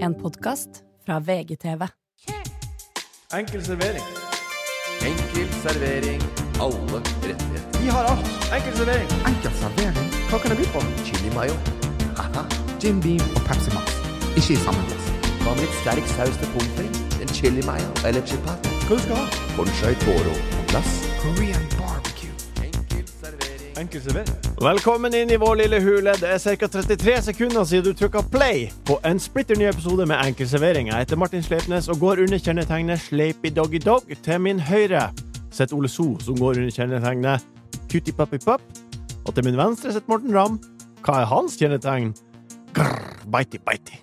En podkast fra VGTV. Enkel servering. Enkel servering. Alle rettigheter. Vi har alt. Enkel servering. Enkel servering. Hva kan det by på? Chili mayo. Haha. Jim Beam og Pepsi Max. Ikke i samme glass. Hva med litt sterk saus til pommes frites? En chili mayo eller chipat? Hva du skal ha? Conchai toro på glass. Korean barbecue. Enkel servering. Enkel servering. Velkommen inn i vår lille hule. Det er ca. 33 sekunder siden du trykka play på en splitter ny episode med Enkel servering. Jeg heter Martin Sleipnes og går under kjennetegnet Sleipy Doggy Dog. Til min høyre sitter Ole So, som går under kjennetegnet Cutie Puppy Pup. Og til min venstre sitter Morten Ramm. Hva er hans kjennetegn? Grrr, bitey, bitey.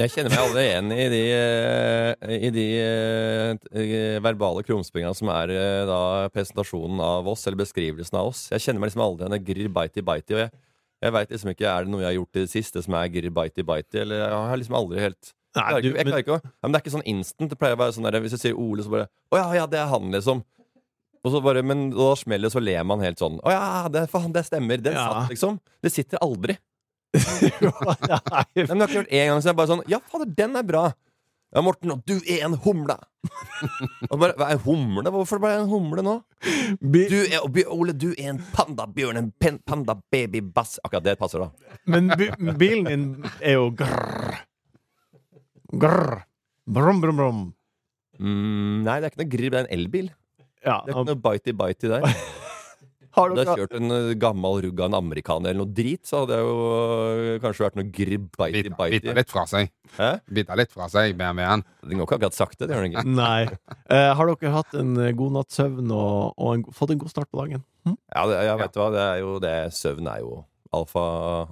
Jeg kjenner meg aldri igjen i de, eh, i de eh, verbale krumspringene som er eh, da presentasjonen av oss, eller beskrivelsen av oss. Jeg kjenner meg liksom aldri igjen i grir bite i bite. Og jeg, jeg veit liksom ikke er det noe jeg har gjort i det siste som er grir bite i bite. Eller jeg har liksom aldri helt Nei, jeg klarer du- ikke, jeg men- klarer ikke å, ja, men Det er ikke sånn instant. Det pleier å være sånn der, Hvis jeg sier Ole, så bare Å ja, ja, det er han, liksom. Og så bare, men og da smeller det, så ler man helt sånn. Å ja, det, faen, det stemmer. Den Ja. satt, liksom. Det sitter aldri. Nei, Nei, men det har ikke gjort en gang Så jeg bare sånn Ja, fader, den er bra Ja, Morten, og du er en humle Og bare, hva er humle? Hvorfor bare en humle nå? bi- Du er, og Bjør- Ole, du er en pandabjørn En pen- pandababybass Akkurat det passer da Men bi- bilen din er jo grrr. Grrr. Brum, brum, brum. mm, Nei, det er ikke noe grib, det er en elbil Det Ja. er ikke noe bitey-bitey der Har Hadde jeg dere, kjørt en eh, gammel rugga En amerikaner eller noe drit Så hadde jeg jo eh, kanskje vært noe grib Biter, bitey-bitey biter litt fra seg. Hæ? Biter litt fra seg, BMW-en. Den går ikke akkurat sakte, det gjør den ikke nei. Eh, har dere hatt en eh, god natts søvn og, og en, fått en god start på dagen? Ja, det, jeg vet hva, det er jo det Søvn er jo alfa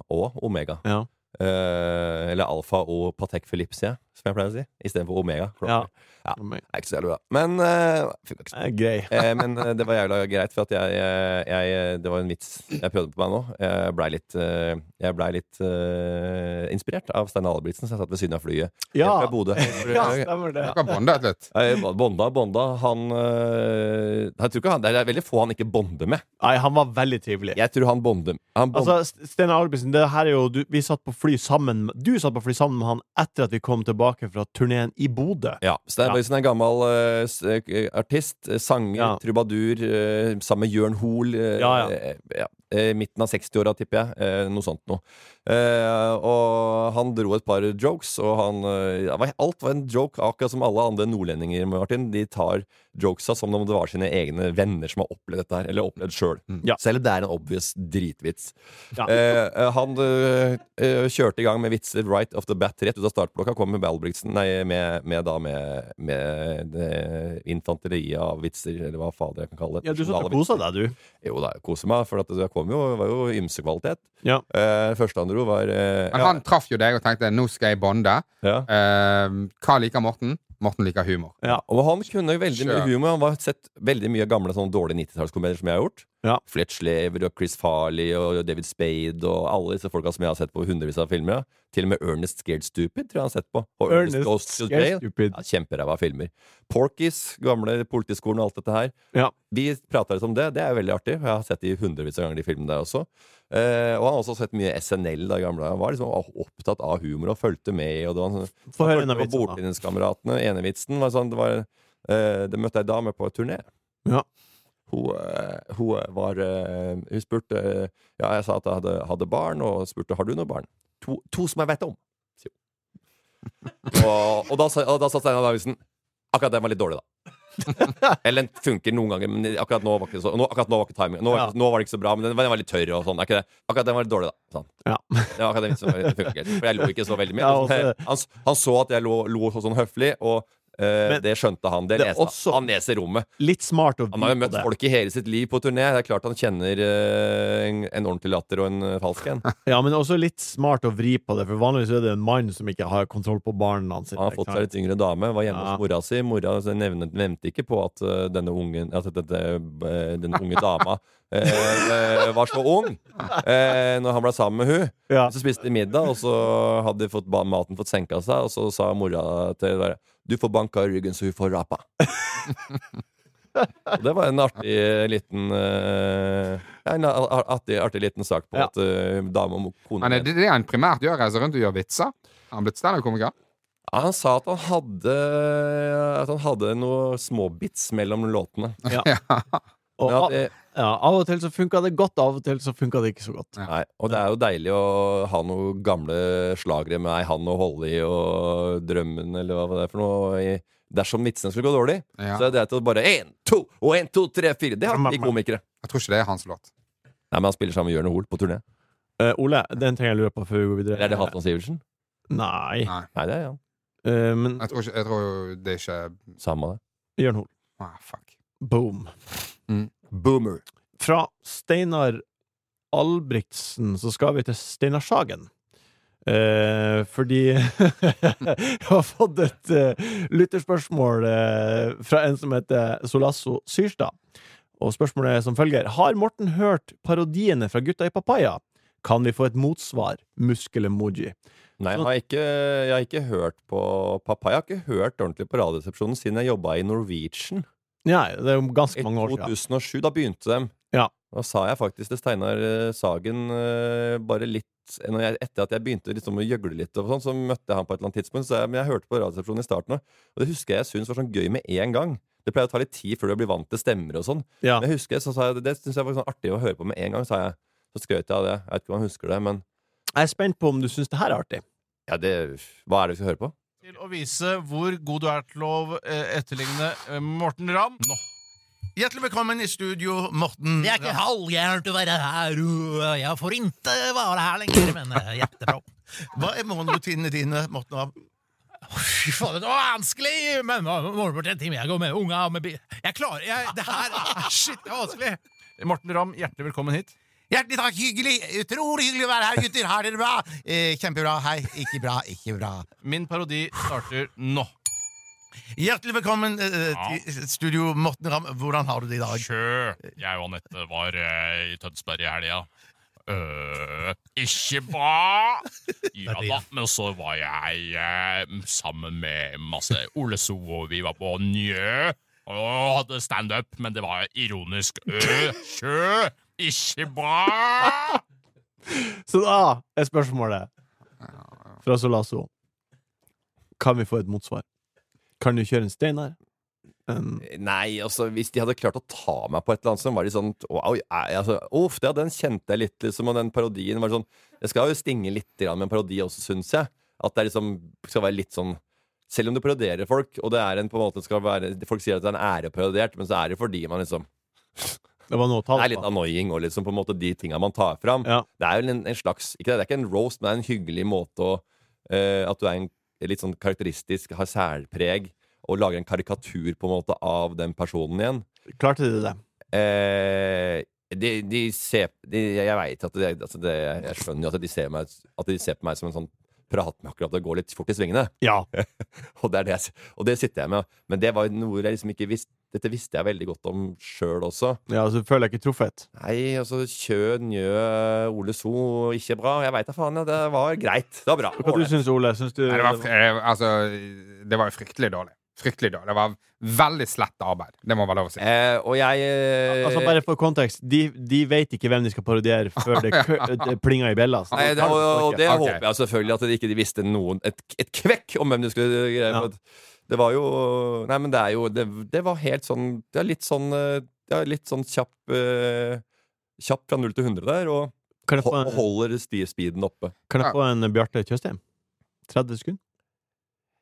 og omega Ja. Eh, eller alfa og Patek Philippe, sier jeg, som jeg pleier å si. Istedenfor omega. Ja. Ja. For meg. Det er ikke så jævlig bra. Men, eh, funka ikke så bra. Eh, grei. Eh, men eh, det var jævla greit, for at jeg, eh, jeg Det var en vits jeg prøvde på meg nå. Jeg blei litt, eh, jeg ble litt eh, inspirert av Stein Albrigtsen, som jeg satt ved siden av flyet. Ja. Helt fra Bodø. ja, stemmer det. Dere har bondet litt. Eh, Bonda, Bonda, han eh, Jeg tror ikke han Det er veldig få han ikke bonder med. Nei, han var veldig trivelig. Jeg tror han bonder han bonder- Altså, St- Steinar Albrigtsen, det her er jo du, Vi satt på fly sammen med- Du satt på fly sammen med han etter at vi kom tilbake fra turneen i Bodø. Ja, Stein Ja. Børgesen er en gammel eh, s- eh, artist, eh, sanger, Ja. trubadur, eh, sammen med Jørn Hoel. eh, Ja, ja. eh, ja, eh, midten av 60-åra, tipper jeg. eh, noe sånt noe. Eh, og han dro et par jokes, og han eh, ja, var- Alt var en joke, akkurat som alle andre nordlendinger, Martin. De tar jokesa som om det var sine egne venner som har opplevd dette her, eller opplevd sjøl. Ja. Selv om det er en obvious dritvits. Ja. Eh, eh, han eh, eh, kjørte i gang med vitser right off the bat, rett ut av startblokka. Kom med Balbrigtsen, nei, med, med, da, med, med det infanteriet av vitser, eller hva fader jeg kan kalle det. Ja, du satt og Nasjonale kosa deg, du. vitser. Jo da, jeg koser meg, for at det kom jo, var jo ymse kvalitet. Ja. Eh, første han dro, var eh, Men han traff jo deg og tenkte 'nå skal jeg bonde'. ja, ja. Eh, hva liker Morten? Morten liker humor. Og han kunne veldig mye Sure. humor. Han har sett veldig mye gamle sånne dårlige 90-tallskomedier som jeg har gjort. Ja. Fletchlever og Chris Farley og David Spade og alle disse folka som jeg har sett på hundrevis av filmer. Ja. Til og med Ernest Scared Stupid tror jeg han har sett på. Og Ernest, Ernest Goes to Scared Jail. Stupid. Ja, Kjemperæva filmer. Porkies, gamle politiskolen og alt dette her. Ja. Vi prata litt om det. Det er jo veldig artig. Jeg har sett de hundrevis av ganger, de filmene der også. Eh, og han har også sett mye SNL da i gamle dager. Han Var liksom opptatt av humor og fulgte med. Og det var sånn, Få høre en av Hørte på vitsene. Bordtenniskameratene. Enevitsen var sånn Det, var, eh, det møtte ei dame på et turné. Ja. Hun, eh, hun var eh, Hun spurte eh, Ja, jeg sa at jeg hadde, hadde barn, og spurte har du noe barn. To, to som jeg vet om, sier hun. Og, og da, sa- og da sa Steinar Davidsen Akkurat den var litt dårlig, da. Eller den funker noen ganger, men akkurat nå var ikke, så, nå, akkurat nå var ikke timing. Nå, var ikke- nå var det ikke så bra, men den, var- den var litt tørr og sånn. er ikke det? Akkurat den var litt dårlig, da. Sånn. Ja. Det var akkurat den vitsen som var- funket. For jeg lo ikke så veldig mye. Ja, også- han, s- han så at jeg lo, lo sånn høflig, og eh, Men det skjønte han. Det det er leste han. også- Han leser rommet. Litt smart å Han har jo by på møtt folk i hele sitt liv på turné. Det er klart han kjenner eh, en, en ordentlig latter og en eh, falsk en. Ja, men også litt smart å vri på det, for vanligvis er det en mann som ikke har kontroll på barna sine. Han har ikke fått seg sant? litt yngre dame, var hjemme Ja. hos mora si. Mora nevnte, nevnte ikke på at eh, denne, ungen, at dette, eh, denne unge dama eh, eh, var så ung eh, når han ble sammen med hun. Ja. Så spiste de middag, og så hadde de fått ba- maten fått senka seg, og så sa mora til henne Du får banka i ryggen, så hun får rapa. Og det var en artig liten eh, ja, En ar- artig, artig liten sak på Ja. at eh, dame og kone Men er det det han primært gjør? Reiser rundt og gjør vitser? Er han blitt standup-komiker? Ja, Han sa at han hadde At han hadde noen småbits mellom låtene. Og, Men av- at det, ja, av og til så funka det godt, av og til så funka det ikke så godt. Ja. nei, og det er jo deilig å ha noen gamle slagere med ei hand å holde i, og Drømmen, eller hva det er for noe. I, dersom vitsene skulle gå dårlig, Ja. så er det greit å bare én, to, og én, to, tre, fire. Det har ikke komikere. Jeg tror ikke det er hans låt. Nei, men han spiller sammen med Jørn og Hoel på turné. Eh, Ole, det er en ting jeg lurer på før vi går videre. Eller er det Halvdan Sivertsen? Nei. Nei. Nei, det er han. Eh, men Jeg tror, ikke, jeg tror jo det er ikke Samme det. Jørn Hoel. ah, Fuck. Boom. Boomer. Fra Steinar Albrigtsen så skal vi til Steinar Sagen. Eh, fordi jeg har fått et eh, lytterspørsmål eh, fra en som heter Solasso Syrstad. Og spørsmålet er som følger Har Morten hørt parodiene fra Gutta i Papaya? Kan vi få et motsvar? Muskel-emoji. Nei, jeg Så- har, ikke, jeg har ikke hørt på pappa. Jeg har ikke hørt ordentlig på Radioresepsjonen siden jeg jobba i Norwegian Nei, det er jo i ganske mange år siden. 2007. Da begynte de. Ja. Da sa jeg faktisk til Steinar eh, Sagen eh, bare litt når jeg, Etter at jeg begynte liksom å gjøgle litt, og sånn, så møtte jeg han på et eller annet tidspunkt. Så jeg, men jeg hørte på Radioresepsjonen i starten òg, og det husker jeg jeg syntes var sånn gøy med en gang. Det pleier å ta litt tid før du blir vant til stemmer og sånn. Ja. Men jeg husker, så sa jeg, Det syns jeg var sånn artig å høre på med en gang, sa jeg. Så skrøt jeg av det. Jeg vet ikke om han husker det, men Jeg er spent på om du syns det her er artig. ja, det, hva er det vi skal høre på? til å vise hvor god du er til å eh, etterligne eh, Morten Ramm. Hjertelig velkommen i studio, Morten. Det er ikke halvgærent å være her. uh, Jeg får ikke være her lenger, men uh, jättebra. Hva er morgenrutinene dine, Morten Ramm? Fy faen, det var vanskelig! Men morgenbort en time. Jeg går med unga og med bil. Jeg klarer jeg, Det her Shit, det er vanskelig. Morten Ramm, hjertelig velkommen hit. Hjertelig takk, hyggelig. Utrolig hyggelig å være her, gutter. Har dere det bra? Eh, kjempebra. Hei. Ikke bra, ikke bra. Min parodi starter nå. Hjertelig velkommen eh, til studio, Morten Ramm. Hvordan har du det i dag? Sjø, jeg og Anette var eh, i Tønsberg i helga. Øh, ikke bra! Ja da, men så var jeg eh, sammen med masse Ole So, og vi var på Njø og hadde standup, men det var ironisk. Øh, sjø, ikke bra! Så da er spørsmålet fra Solasso Kan vi få et motsvar? Kan du kjøre en Steinar? En- Nei, altså hvis de hadde klart å ta meg på et eller annet som var litt sånn wow, jeg, altså, Uff, ja, den kjente jeg litt, liksom, og den parodien var sånn Jeg skal jo stinge litt grann med en parodi også, syns jeg. At det er liksom skal være litt sånn Selv om du parodierer folk, og det er en på en måte skal være Folk sier at det er en æreparodiert, men så er det fordi man liksom Det var noe å ta Det er det litt på. annoying, og liksom på en måte de tinga man tar fram. Ja. Det er jo en, en slags ikke det, det er ikke en roast, men det er en hyggelig måte å eh, At du er en litt sånn karakteristisk, har særpreg, og lager en karikatur på en måte av den personen igjen. Klarte du det? Eh, de, de ser de, Jeg veit at det, altså det, Jeg skjønner jo at de ser, meg, at de ser på meg som en sånn pratmaker, at det går litt fort i svingene. Ja. Og det, er det, jeg s- og det sitter jeg med. Men det var jo noe jeg liksom ikke visste dette visste jeg veldig godt om sjøl også. ja så føler jeg ikke truffet. Nei, altså Kjø, Njø, Ole So, ikke bra. Jeg veit da faen. Ja, det var greit. Det var bra. Hva du Ålreit. syns Ole? Syns du Nei, det, var, fr- eh, altså, det var jo fryktelig dårlig. Fryktelig dårlig. Det var veldig slett arbeid. Det må være lov å si. Eh, og jeg eh, Altså Bare for kontekst, de, de vet ikke hvem de skal parodiere før det, kø, det plinger i bjella. så de Nei, det, tar og, på og det sparket. Ok. håper jeg selvfølgelig at de ikke de visste noen et, et kvekk om hvem du skulle greie Ja. på. Det var jo Nei, men det er jo Det, det var helt sånn Det er litt sånn eh, Ja, litt sånn kjapp eh, Kjapp fra 0 til 100 der, og Kan jeg få ho- en, holder sti- speeden oppe. kan jeg få en Bjarte Tjøstheim? 30 sekunder?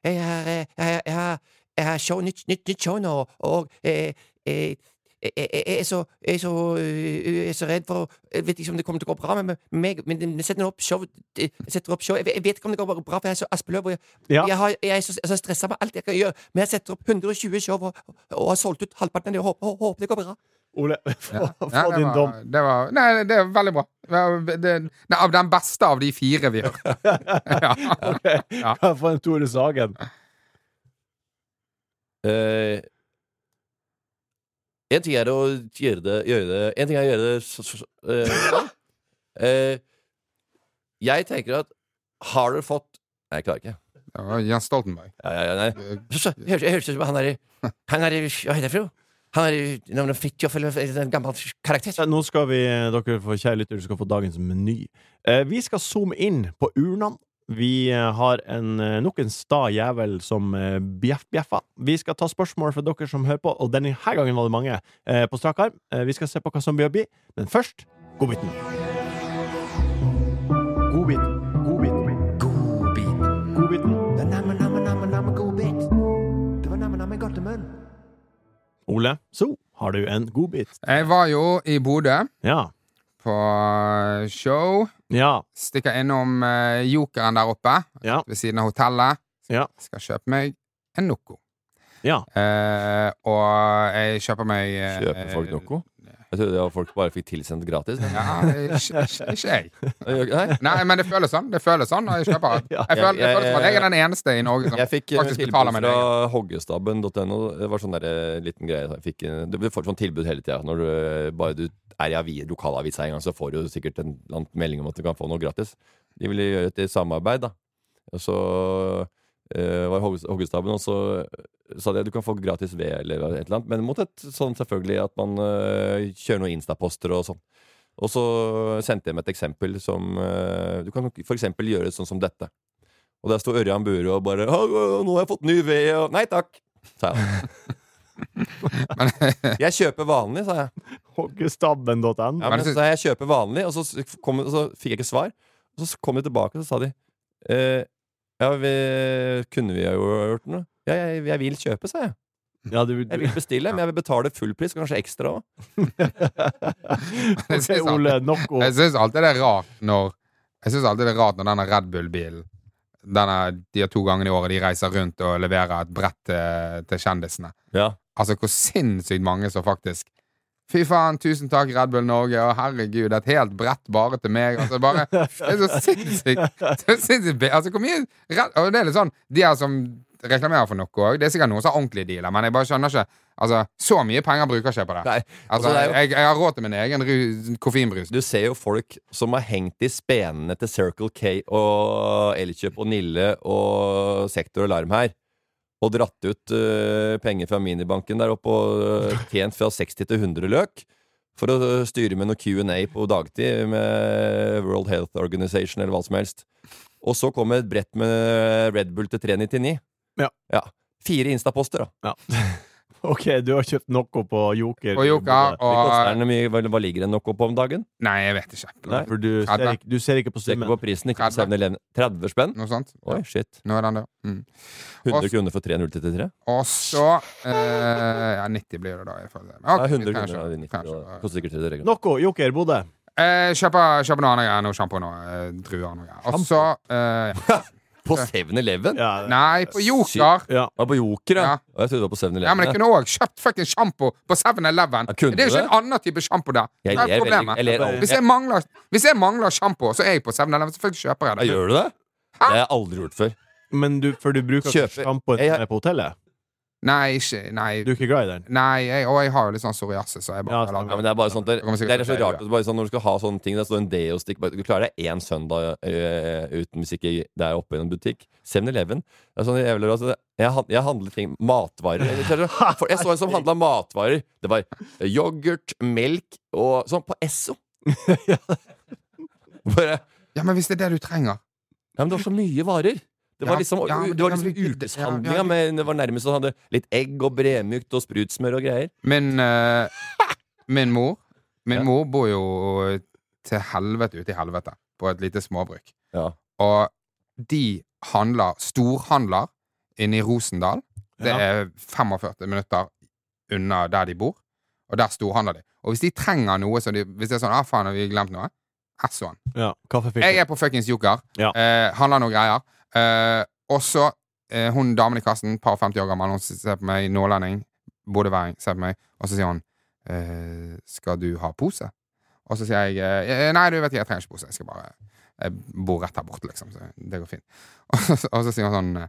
Jeg har, eh, jeg, jeg har, jeg har show, nytt, nytt, nytt show nå, og eh, eh, jeg, jeg, jeg, er så, jeg, er så, eh, jeg er så redd for Jeg vet ikke om det kommer til å gå bra med med meg, men jeg setter opp show. Jeg, setter opp show. Jeg, jeg vet ikke om det går bra, for jeg er så Aspeløv. Og jeg, Ja. jeg, har, jeg er så, så stressa med alt jeg kan gjøre, men jeg setter opp 120 show og, og har solgt ut halvparten av det. og Håper, håper det går bra. Ole, få, få Ja, det din dom. var, det var, nei, det er veldig bra. Det, var- det, nei, av den beste av de fire vi hørte. Ok. Kan jeg få en Tore Sagen? Eh, en ting er å gjøre det, gjøre det En ting er å gjøre det så, så, så- eh, eh, Jeg tenker at Har du fått Nei, jeg klarer ikke. Det var Jens Stoltenberg. Ja, ja, ja, nei. Så, så, jeg høres jeg høres ut som han derre Han derre Hva heter han for noe? Han er noen fittjoff eller en gammel karakter. Ja, Eh, Nå skal vi, dere for kjære lyttere, skal få dagens meny. Eh, vi skal zoome inn på urnene. Vi eh, har en, eh, nok en sta jævel som eh, bjeff-bjeffa. Vi skal ta spørsmål fra dere som hører på, og denne her gangen var det mange eh, på strak arm. Eh, vi skal se på hva som blir å bli, men først godbiten. Godbiten. Godbiten. Godbiten. Ole, så har du en godbit. Jeg var jo i Bodø Ja. på eh, show. Ja. Stikker innom eh, Jokeren der oppe, Ja. ved siden av hotellet. Ja. Skal kjøpe meg en Noco. Ja. Eh, og jeg kjøper meg eh, Kjøper folk noe? Jeg trodde det var folk bare fikk tilsendt gratis. Ja, ikke, ikke ikke jeg. Nei, Nei, men det føles sånn. Det føles sånn når jeg kjøper. Ja. Jeg føler, det Jeg- føles som at jeg er den eneste i Norge som Jeg fikk eh, faktisk tilbud betaler med fra deg. hoggestabben.no. Det var sånn der, eh, liten greie. Jeg fikk, eh, du får sånn tilbud hele tida. Når du eh, bare du er i avi- lokalavisa en gang, så får du jo sikkert en eller annen melding om at du kan få noe gratis. De ville gjøre et eh, samarbeid, da. Og så eh, var Hogges- hoggestaben, og så eh, sa de at du kan få gratis ved, eller et eller annet. Men mot et sånn selvfølgelig at man eh, kjører noen Insta-poster og sånn. Og så sendte jeg med et eksempel som eh, Du kan for eksempel gjøre sånn som dette. Og der sto Ørjan Bure og bare «Å, å, 'Nå har jeg fått ny ved', og 'Nei takk', sa jeg. jeg kjøper vanlig, sa jeg. Hoggestabben.no. Ja, Men men, så- så jeg kjøper vanlig, og så, s- kom, og så fikk jeg ikke svar. Og så kom de tilbake, og så sa de eh, Ja, vi, kunne vi ha jo gjort noe? Ja, jeg, jeg vil kjøpe, sa jeg. Ja, du, Jeg vil bestille, men jeg vil betale full pris, kanskje ekstra òg. Ok, Ole, nok om Jeg syns alltid det er rart når Jeg synes alltid det er rart når denne Red Bull-bilen denne, De to gangene i året de reiser rundt og leverer et brett til, til kjendisene. Ja. Altså hvor sinnssykt mange som faktisk Fy faen, tusen takk, Red Bull Norge, og herregud, et helt brett bare til meg. Altså, bare, det er så sinnssykt. Så sinnssykt be- altså, hvor mye Red, og det er litt sånn, De her som reklamerer for noe òg, det er sikkert noen som har ordentlige dealer, men jeg bare skjønner ikke Altså, Så mye penger bruker ikke jeg på det. Nei, altså, altså, det er jo- jeg, jeg har råd til min egen ru- koffeinbrus. Du ser jo folk som har hengt i spenene til Circle K og Elkjøp og Nille og Sektor Alarm her, og dratt ut eh, penger fra minibanken der oppe og eh, tjent fra 60 til 100 løk. For å eh, styre med noe Q&A på dagtid med World Health Organization eller hva som helst. Og så kommer et brett med Red Bull til 399. Ja. Fire Insta-poster, da. ja. Ok, du har kjøpt noe på Joker. Og Joker Det koster og den mye, hva hva ligger det nok opp om dagen? Nei, jeg vet ikke. Nei, for du ser, Tredve. ikke, du ser ikke på Ser summen. ikke på prisen, ikke på 7-Eleven. 30 spenn? Noe sånt. Oi, shit. Nå er den der. Mm. 100 kroner for 3,033? Og så eh, Ja, 90 blir det da. Jeg føler. Men Ja, ok, 100 vi kan kroner kjøpe- av de 90 kan da. kjøpe. Koster sikkert 30 kroner. Noe Joker Bodø. Eh, Kjøper kjøper noe annet greier. Noe sjampo, noe eh, druer, noe greier. Og så eh, På 7-Eleven? Ja, Nei, på Joker. ja. Ja, på Joker, ja. Ja. Og Jeg trodde det var på Ja, men 7-Eleven. jeg jeg. kunne òg kjøpt fucking sjampo på 7-Eleven. Ja, Det kunne er jo du ikke det? en annen type sjampo der. Jeg Hva er ler veldig- problemet? jeg ler Hvis aldri. jeg mangler Hvis jeg mangler sjampo, så er jeg på 7-Eleven. Selvfølgelig kjøper Ja, jeg det. gjør du det? Det har jeg aldri gjort før. Men du, for du bruker ikke Kjøper- sjampoen Jeg- som er på hotellet? Nei, ikke Nei. Du er ikke glad i den? Nei, jeg, og jeg har jo litt sånn psoriasis, så jeg bare Ja, stemmer. Ja, men det er bare sånt der, Det kommer det sikkert er så til å rart at du bare sånn, når du skal ha sånne ting, der står en deo-stikk bare- Du klarer deg én søndag øh, uten hvis ikke det er oppe i en butikk. 7-Eleven. Det er sånn jævlig rart. så det- Jeg, han- jeg handler ting Matvarer. Jeg, jeg, for- jeg så en som handla matvarer. Det var yoghurt, melk og sånn på Esso. Bare Ja, men hvis det er det du trenger Ja, men det var så mye varer. Det var Ja, liksom, ja, men det var det kan liksom bli- ja, ukeshandlinga, ja. men det var nærmest sånn hadde litt egg og bremykt og sprutsmør og greier. Min, eh, min mor Min Ja. mor bor jo til helvete ute i helvete på et lite småbruk. Ja. Og de handler, storhandler, inne i Rosendal. Det Ja. er 45 minutter unna der de bor, og der storhandler de. Og hvis de trenger noe, så de, hvis det er sånn ah, 'faen, har vi glemt noe', Essoen. Ja. Jeg Kaffefilter. er på fuckings Joker. Ja. Eh, handler noen greier. Eh, og så eh, hun damen i kassen, par og 50 år gammel, hun ser på meg, nordlending, bodøværing, ser på meg, og så sier hun eh, 'Skal du ha pose?' Og så sier jeg eh, 'Nei, du vet ikke, jeg trenger ikke pose. Jeg skal bare Jeg bor rett her borte, liksom. Så det går fint. Og så, og så sier hun sånn eh,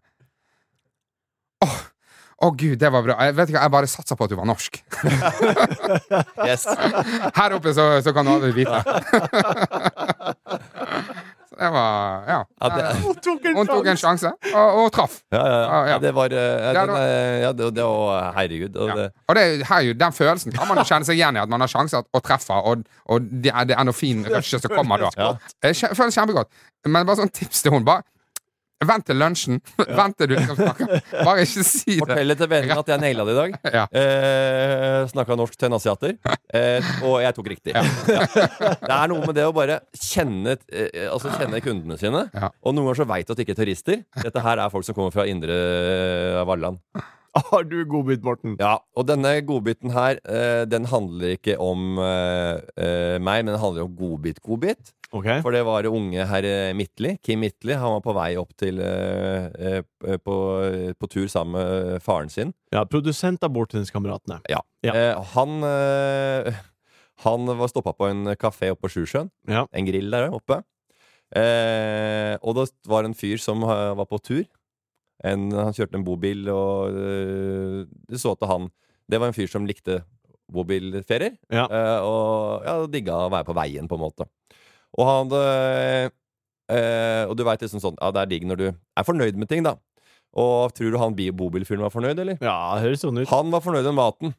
Åh, å gud, det var bra. Jeg vet ikke, jeg bare satser på at du var norsk. Yes. Her oppe så, så kan du aldri vite. Så det var Ja. Ja, det- Hun tok en Hun tok Sånn. en sjanse, og, og traff. Ja, ja, ja. Ah, Ja, ja. ja. Det var eh, ja, Ja, den, da- eh, ja, det, det var Herregud. Og Ja. det, Og det, er- her, er jo- den følelsen kan man jo kjenne seg igjen i, at man har sjanser og treffer, og, og det er det endorfinrushet som kommer da. Ja. Jeg kje- føler kjempegodt. Men bare sånn tips til hun. Bare vent til lunsjen. Vent til du liksom snakker. Bare ikke si det. Fortell det til vennen at jeg naila det i dag. Ja. Eh, Snakka norsk til en asiater. Eh, og jeg tok riktig. Ja. Det er noe med det å bare kjenne, eh, altså kjenne kundene sine. Ja. Og noen ganger så veit du at de ikke er turister. Dette her er folk som kommer fra indre eh, Valland. Har du godbit, Morten? Ja, og denne godbiten her, eh, den handler ikke om eh, eh, meg, men den handler om godbit-godbit. Ok. For det var unge herr eh, Midtly, Kim Midtly. Han var på vei opp til eh, eh, på, på tur sammen med faren sin. Ja, Produsent av Bortenskameratene. Ja. Ja. Eh, han eh, Han var stoppa på en kafé oppe på Sjusjøen. Ja. En grill der oppe. Eh, og det var en fyr som eh, var på tur. En, han kjørte en bobil, og eh, du så at han Det var en fyr som likte bobilferier. Ja. Eh, og ja, digga å være på veien, på en måte. Og han eh, eh, Og du veit liksom sånn Ja, det er digg når du er fornøyd med ting, da. Og tror du han bi- bobilfyren var fornøyd, eller? Ja, høres sånn ut. Han var fornøyd med maten.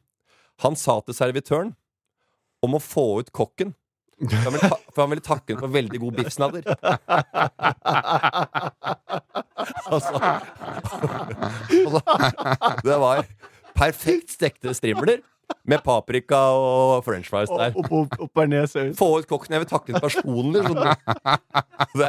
Han sa til servitøren om å få ut kokken. For han ville, ta for han ville takke henne for veldig god biffsnadder. altså, altså, det var perfekt stekte strimler med paprika og french fries der. Opp, opp, opp, opp er nesaus. Få ut kokken, jeg vil takke henne personlig. Sånn. Det,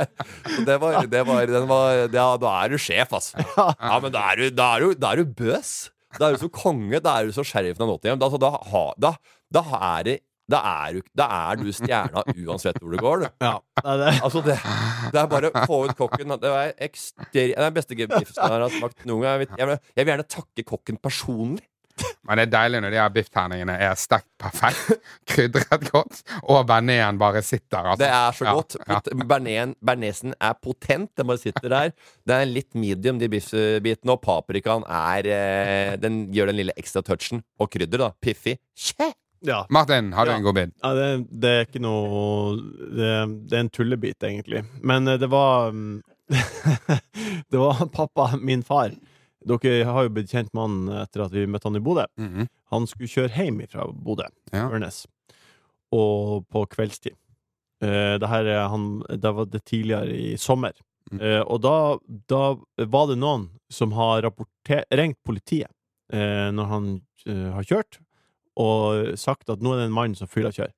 det var, det var, den var ja, Da er du sjef, altså. Ja, men da er du, da er du, da er du bøs. Da er du som konge. Da er du som sheriffen av Nottingham. Da, altså, da, ha- da, da er det da er, du, da er du stjerna uansett hvor du går, du. Ja. Nei, det, Altså, det, det er bare å få ut kokken. Det er ekster, det er den beste biffen jeg har smakt noen gang. Jeg vil, jeg vil- jeg vil gjerne takke kokken personlig. Men det er deilig når de her biffterningene er stekt perfekt, krydret godt, og bearnésen bare sitter. Altså. Det er så Ja, godt. ja. Bernesen, Bernesen er potent. Den bare sitter der. Det er litt medium, de biffbitene, og paprikaen er eh, Den gjør den lille ekstra touchen. Og krydder, da. Piffi. Kje! ja. Martin, har du Ja. en god bid? Ja, det, det er ikke noe det, det er en tullebit, egentlig. Men eh, det var mm, Det var pappa, min far. Dere har jo blitt kjent med han etter at vi møtte han i Bodø. Mhm. Han skulle kjøre hjem fra Bodø, Ja. Ørnes, og på kveldstid. Eh, det her er han Det var det tidligere i sommer. Mm. Eh, og da, da var det noen som har rapporter- ringt politiet eh, når han eh, har kjørt, og sagt at nå er det en mann som fyllekjører.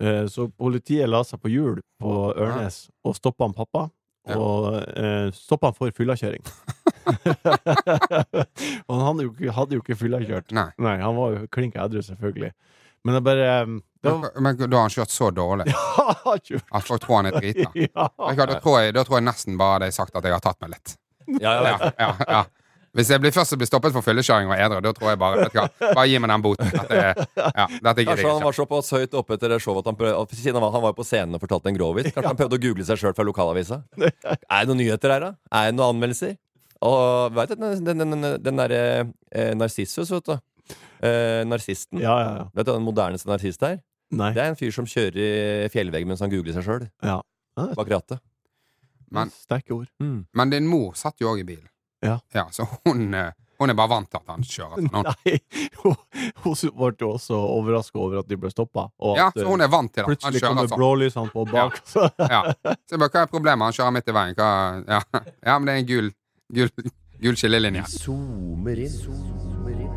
Eh, så politiet la seg på hjul på Ørnes og stoppa han pappa. Ja. Og eh, stoppa han for fyllekjøring. og han hadde jo ikke, hadde jo ikke fyllekjørt. Nei. Nei, han var jo klink edru, selvfølgelig. Men det bare um, det var, Men da har han kjørt så dårlig at folk tror han er drita. ja. Vet du hva, Da tror jeg, da tror jeg nesten bare hadde jeg sagt at jeg har tatt meg litt. Ja, ja, Ja, ja, ja. Hvis jeg blir først blir stoppet for fyllekjøring og edru, da tror jeg bare vet du hva, Bare gi meg den boten. Dette, ja, dette gidder Kanskje jeg han ikke. var såpass høyt oppe etter det showet at han prøvde, at siden han var, han var jo på scenen og fortalte en grovhvit. Kanskje han prøvde å google seg sjøl fra lokalavisa. Er det noen nyheter her, da? Er det noen anmeldelser? Og veit du, den, den, den, den derre eh, Narsissus, vet du. Eh, narsisten. ja, ja, ja. Vet du hva den moderneste narsist er? Nei. Det er en fyr som kjører i fjellvegg mens han googler seg sjøl. Ja. Bak rattet. Men- Sterke ord. Men din mor satt jo òg i bilen. Ja. så hun, eh, hun er bare vant til at han kjører sånn. Hun. Nei, hun hun ble jo også overraska over at de ble stoppa. Og Ja, at så eh, hun er vant til at han plutselig kjører kommer sånn. blålysene på bak. Så, Ja. Så jeg bare, hva er problemet? Han kjører midt i veien. Hva? Ja. ja, men det er en gul, gul, gul skillelinje. Zoomer inn. Zoomer inn.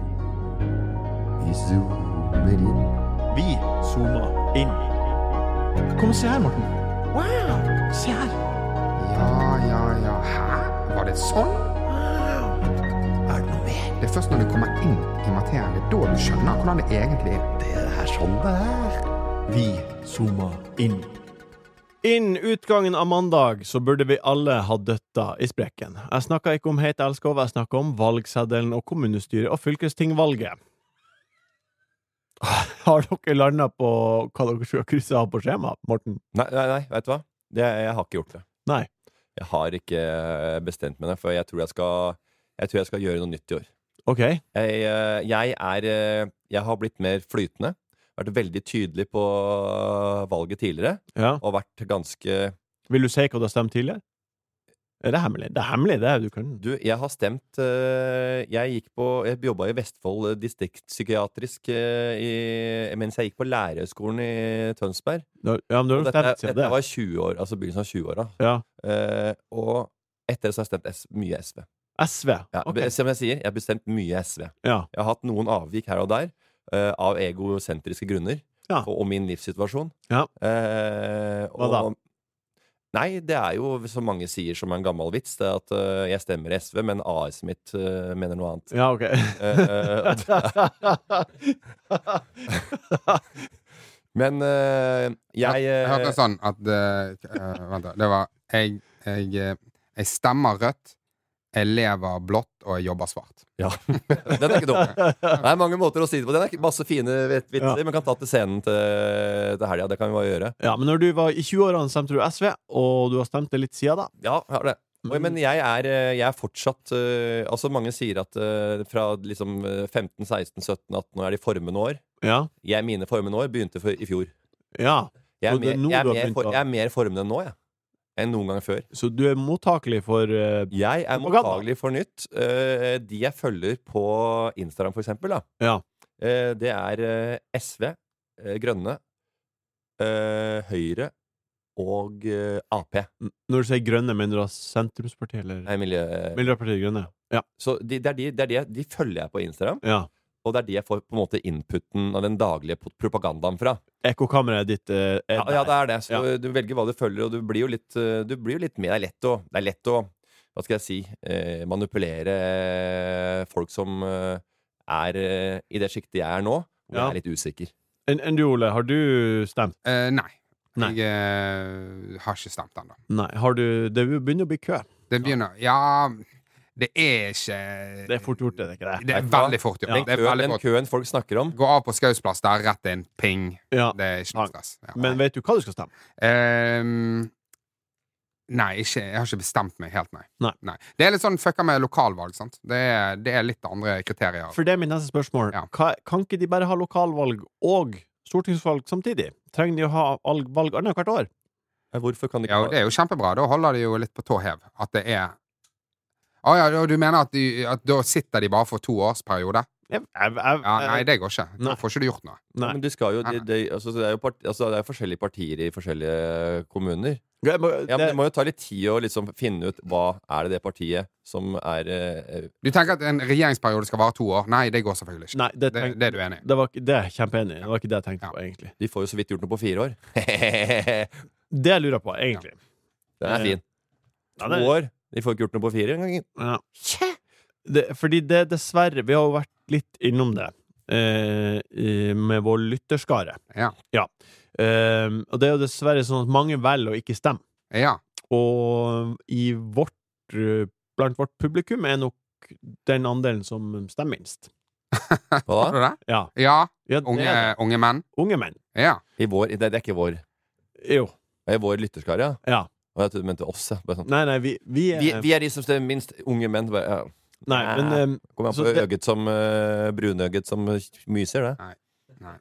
Vi zoomer inn. vi zooma inn. Kom og se her, Morten. Wow! Se her. Ja, ja, ja. Hæ? Var det sånn? Er det noe mer? Det er først når du kommer inn i materien, det er da du skjønner hvordan det egentlig er. Det er sånn det er. Vi zooma inn. Innen utgangen av mandag så burde vi alle ha døtta i sprekken. Jeg snakka ikke om Heit Elskov, jeg snakka om valgseddelen og kommunestyret og fylkestingvalget. Har dere landa på hva dere skal krysse av på skjema, Morten? Nei, nei, nei veit du hva? Det, jeg har ikke gjort det. Nei. Jeg har ikke eh, bestemt meg, for jeg tror jeg skal, jeg tror jeg skal gjøre noe nytt i år. OK. Jeg, eh, jeg er eh, Jeg har blitt mer flytende. Vært veldig tydelig på eh, valget tidligere. Ja. Og vært ganske Vil du si hva du har stemt tidligere? Er det hemmelig? Det er hemmelig, det. er Du kan Du, jeg har stemt eh, Jeg gikk på Jeg jobba i Vestfold eh, distriktspsykiatrisk eh, i, mens jeg gikk på lærerskolen i Tønsberg. Ja, men du Og har jo Dette, stemt siden dette det. var 20 år, altså begynnelsen av 20-åra. Ja. Eh, og etter det så har jeg stemt S mye SV. SV. Ja, Ok. be- Som jeg sier, jeg har bestemt mye SV. Ja. Jeg har hatt noen avvik her og der eh, av egosentriske grunner Ja. og, og min livssituasjon. Ja. Eh, og, Hva da? Nei, det er jo som mange sier som er en gammel vits, det er at eh, jeg stemmer SV, men AS mitt eh, mener noe annet. Ja, ok. Eh, og det- men eh, jeg Jeg hørte eh, det sånn at eh, eh, Vent, da. Det var jeg, jeg, eh, jeg stemmer rødt, jeg lever blått, og jeg jobber svart. Ja, den er ikke dum. Det er mange måter å si det på. Den er ikke masse fine vit- vitser. Ja. Men kan ta til scenen til, til helga. Det kan vi bare gjøre. ja, men når du var i 20-årene, stemte du SV, og du har stemt det litt siden da. Ja, jeg har det. Mm. Oi, Men jeg er, eh, jeg er fortsatt eh, Altså, mange sier at eh, fra liksom eh, 15, 16, 17, 18 år er de formende år. Ja. Jeg Mine formende år begynte for, i fjor. ja. Jeg er, Og det er mer, nå jeg, er du har mer begynt for, å- jeg er mer formende nå, jeg. Enn noen gang før. Så du er mottakelig for eh, Jeg er Propaganda. mottagelig for nytt. Eh, De jeg følger på Instagram, for eksempel, da, Ja. eh, det er eh, SV, eh, Grønne, eh, Høyre og eh, Ap. n- Når du sier grønne, mener du da sentrumspartiet, eller? Nei, miljø... Miljøpartiet De Grønne. Ja. Så de, det er de, det er de, jeg- de følger jeg på Instagram, ja. og det er de jeg får på en måte inputen av den daglige po- propagandaen fra. Ekkokammeret ditt eh, er Ja, der. ja det er det. Så Ja. du velger hva du følger, og du blir jo litt, eh, du blir jo litt med. Det er lett å, det er lett å hva skal jeg si, eh, manipulere eh, folk som eh, er eh, i det sjiktet jeg er nå, hvor Ja. jeg er litt usikker. Enn enn du, Ole, har du stemt? Eh, nei. Nei. Jeg eh, har ikke stemt ennå. Nei. Har du Det begynner å bli kø. Det begynner Ja, det er ikke Det er fort gjort, er det ikke det? Det er Vet du hva? veldig fort gjort. Den, Det er køen, veldig den fort. køen folk snakker om Gå av på Skaus plass der, rett inn. Ping. Ja. Det er ikke noe stress. Ja. Men vet du hva du skal stemme? Ehm, nei, ikke, jeg har ikke bestemt meg helt, nei. Nei. Det er litt sånn fucka med lokalvalg, sant. Det er, det er litt andre kriterier. For det er mitt neste spørsmål. Ja. Hva, kan ikke de bare ha lokalvalg og stortingsvalg samtidig? Trenger de å ha valg, valg annethvert år? Eh, Hvorfor kan de Ja, og det er jo kjempebra. Da holder de jo litt på tå hev. At det er Å ja, og du mener at, de, at da sitter de bare for to års periode? Jeg, jeg, jeg, Ja, nei, det går ikke. Da Eh, Nei. får ikke du gjort noe. Ja, Men du skal jo, de, de, altså, det er jo part, altså, det er jo forskjellige partier i forskjellige kommuner. jeg må, det, Ja, men Det må jo ta litt tid å liksom finne ut hva er det det partiet som er eh, Du tenker at en regjeringsperiode skal vare to år? Nei, det går selvfølgelig ikke. nei, det, Det, tenk, det er du enig i? det, var, ikke- det er jeg kjempeenig i. Det var ikke det jeg tenkte Ja. på, egentlig. De får jo så vidt gjort noe på fire år. Den Det jeg lurer på, egentlig. er fin. Ja, To det- år. De får ikke gjort noe på fire engang. Ja. Det, fordi det, dessverre, vi har jo vært litt innom det eh, i, med vår lytterskare. Ja. Eh, og det er jo dessverre sånn at mange velger å ikke stemme. Ja. Og i vårt, eh, blant vårt publikum er nok den andelen som stemmer minst. Hva Tror da? du det? Ja, Ja. ja det Unge, er det. unge menn? unge menn. Ja. I vår, det, det er ikke vår. Jo. Det er vår lytterskare, ja. Ja. Og jeg trodde du mente oss. ja. Bare sånn. Nei, nei, vi, vi er Vi, vi er de som stemmer minst unge menn. Bare, ja. Nei, men eh, Kommer an Så på det- øget som uh, brunøget som myser, det.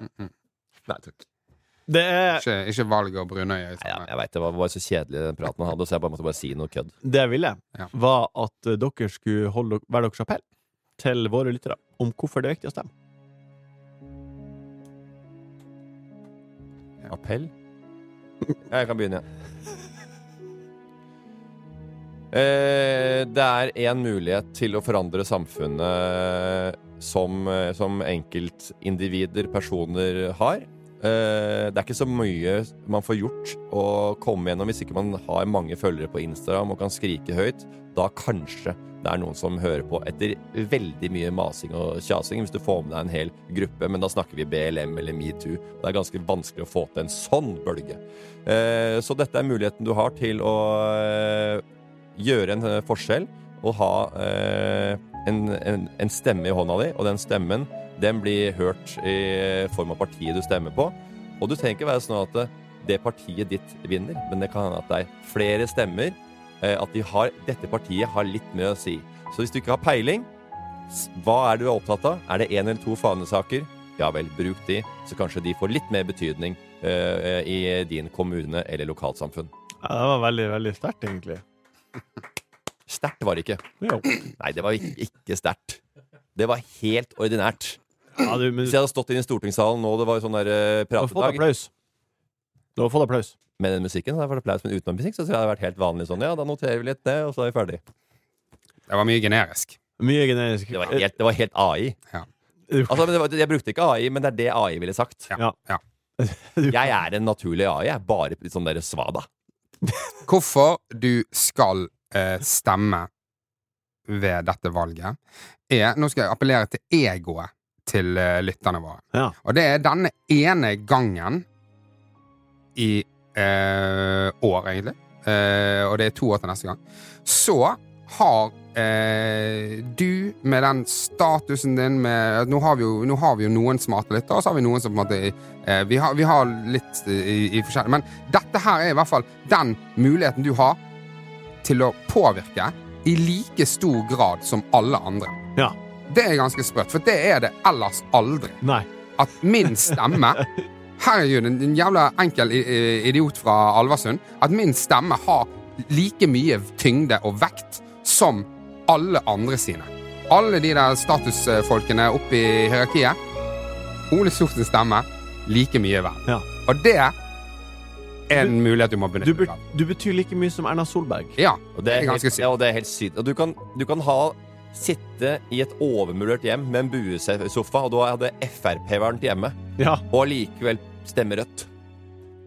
Nei, takk. det er Ikke, ikke valg og brunøye. Nei, ja, Sånn. jeg vet, det var, var så kjedelig den praten han hadde, så jeg bare måtte bare si noe kødd. Det jeg ville, Ja. var at eh, dere skulle holde dere- hver deres appell til våre lyttere om hvorfor det er viktig å stemme. Appell? Ja, jeg kan begynne, ja. Eh, det er én mulighet til å forandre samfunnet som, eh, som enkeltindivider, personer, har. Eh, det er ikke så mye man får gjort å komme gjennom hvis ikke man har mange følgere på Instagram og kan skrike høyt. Da kanskje det er noen som hører på etter veldig mye masing og kjasing, hvis du får med deg en hel gruppe, men da snakker vi BLM eller metoo. Det er ganske vanskelig å få til en sånn bølge. Eh, Så dette er muligheten du har til å eh, gjøre en eh, forskjell og ha eh, en, en, en stemme i hånda di, og den stemmen den blir hørt i form av partiet du stemmer på. Og du trenger ikke være sånn at eh, det partiet ditt vinner, men det kan hende at det er flere stemmer, eh, at de har, dette partiet har litt mer å si. Så hvis du ikke har peiling, s- hva er det du er opptatt av? Er det én eller to fanesaker? Ja vel, bruk de, så kanskje de får litt mer betydning eh, i din kommune eller lokalsamfunn. Ja, det var veldig, veldig sterkt, egentlig. Sterkt var det ikke. Jo. Nei, det var ikke, ikke sterkt. Det var helt ordinært. Ja, du, men Hvis du jeg hadde stått inne i stortingssalen nå, det var jo sånn der eh, har fått pratedag applaus. Du har fått applaus. med den musikken, så hadde jeg fått applaus, men uten musikk så tror jeg det hadde vært helt vanlig sånn. Ja, da noterer vi litt ned, og så er vi ferdig. Det var mye generisk. Mye generisk. Det var helt, det var helt AI. Ja. Altså, men det var, jeg brukte ikke AI, men det er det AI ville sagt. Ja. Ja. Jeg er en naturlig AI. Jeg er bare litt sånn derre svada. Hvorfor du skal eh, stemme ved dette valget, er Nå skal jeg appellere til egoet til eh, lytterne våre. Ja. Og det er denne ene gangen i eh, år, egentlig, eh, og det er to år til neste gang, så har eh, du, med den statusen din med Nå har vi jo, nå har vi jo noen smarte lyttere, og så har vi noen som på en måte eh, vi, har, vi har litt i, i forskjellig Men dette her er i hvert fall den muligheten du har til å påvirke i like stor grad som alle andre. Ja. Det er ganske sprøtt, for det er det ellers aldri Nei. at min stemme Herregud, en en jævla enkel i- i- idiot fra Alversund. At min stemme har like mye tyngde og vekt som alle andre sine. Alle de der statusfolkene oppe i hierarkiet. Ole Sortens stemme like mye verd. Ja. Og det er en mulighet du må Du, benytte be deg av. du betyr like mye som Erna Solberg. Ja, Og Det er ganske helt, sykt. ja, og det er helt sykt. Og du kan, du kan ha sitte i et overmulert hjem med en buesofa, og du hadde Frp-væren til hjemme, Ja. og likevel stemme rødt.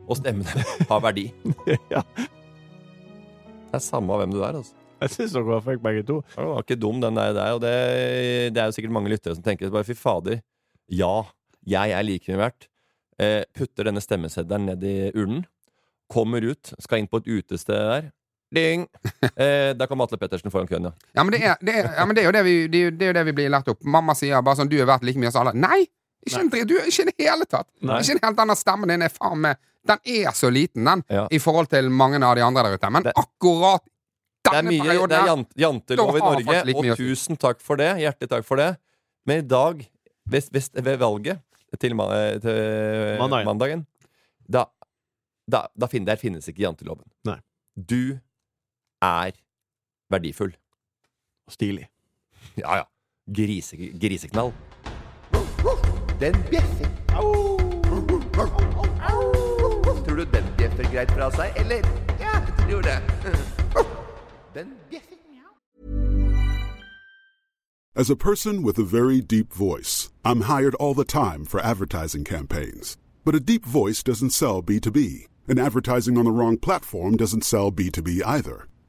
Og stemmene har verdi. ja. Det er samme hvem du er, altså. Jeg syns dere var flinke, begge to. Ja, Det var ikke dum, den der. der og det, det er jo sikkert mange lyttere som tenker bare fy fader. Ja, jeg er like mye verdt. Eh, putter denne stemmeseddelen ned i urnen. Kommer ut, skal inn på et utested der. Ding! Eh, da kom Atle Pettersen foran køen, ja. ja, men, det er, det er, ja men det er jo det vi, det er, jo- det er jo det vi blir lært opp. Mamma sier bare sånn 'Du er verdt like mye som alle'. Nei! Ikke, en dri- du er ikke i det hele tatt. Nei. Ikke en helt annen stemmen din er faen meg Den er så liten, den. ja. i forhold til mange av de andre der ute. Men Det- akkurat Det er denne mye perioden det er her jant, jantelov Da i har Norge, faktisk litt mye å og si. tusen takk for det. Hjertelig takk for det. Men i dag, hvis, hvis, ved valget til, ma- eh, til Mandagen. mandagen, da, da, da fin- der finnes ikke janteloven. Nei. Du er verdifull. Stilig. Ja, ja. Grise, griseknall. Den bjeffer. Tror du den bjeffer greit fra seg, eller? Ja, jeg tror det. Den bjeffer. As a person with a very deep voice, I'm hired all the time for advertising campaigns. But a deep voice doesn't sell B2B, and advertising on the wrong platform doesn't sell B2B either.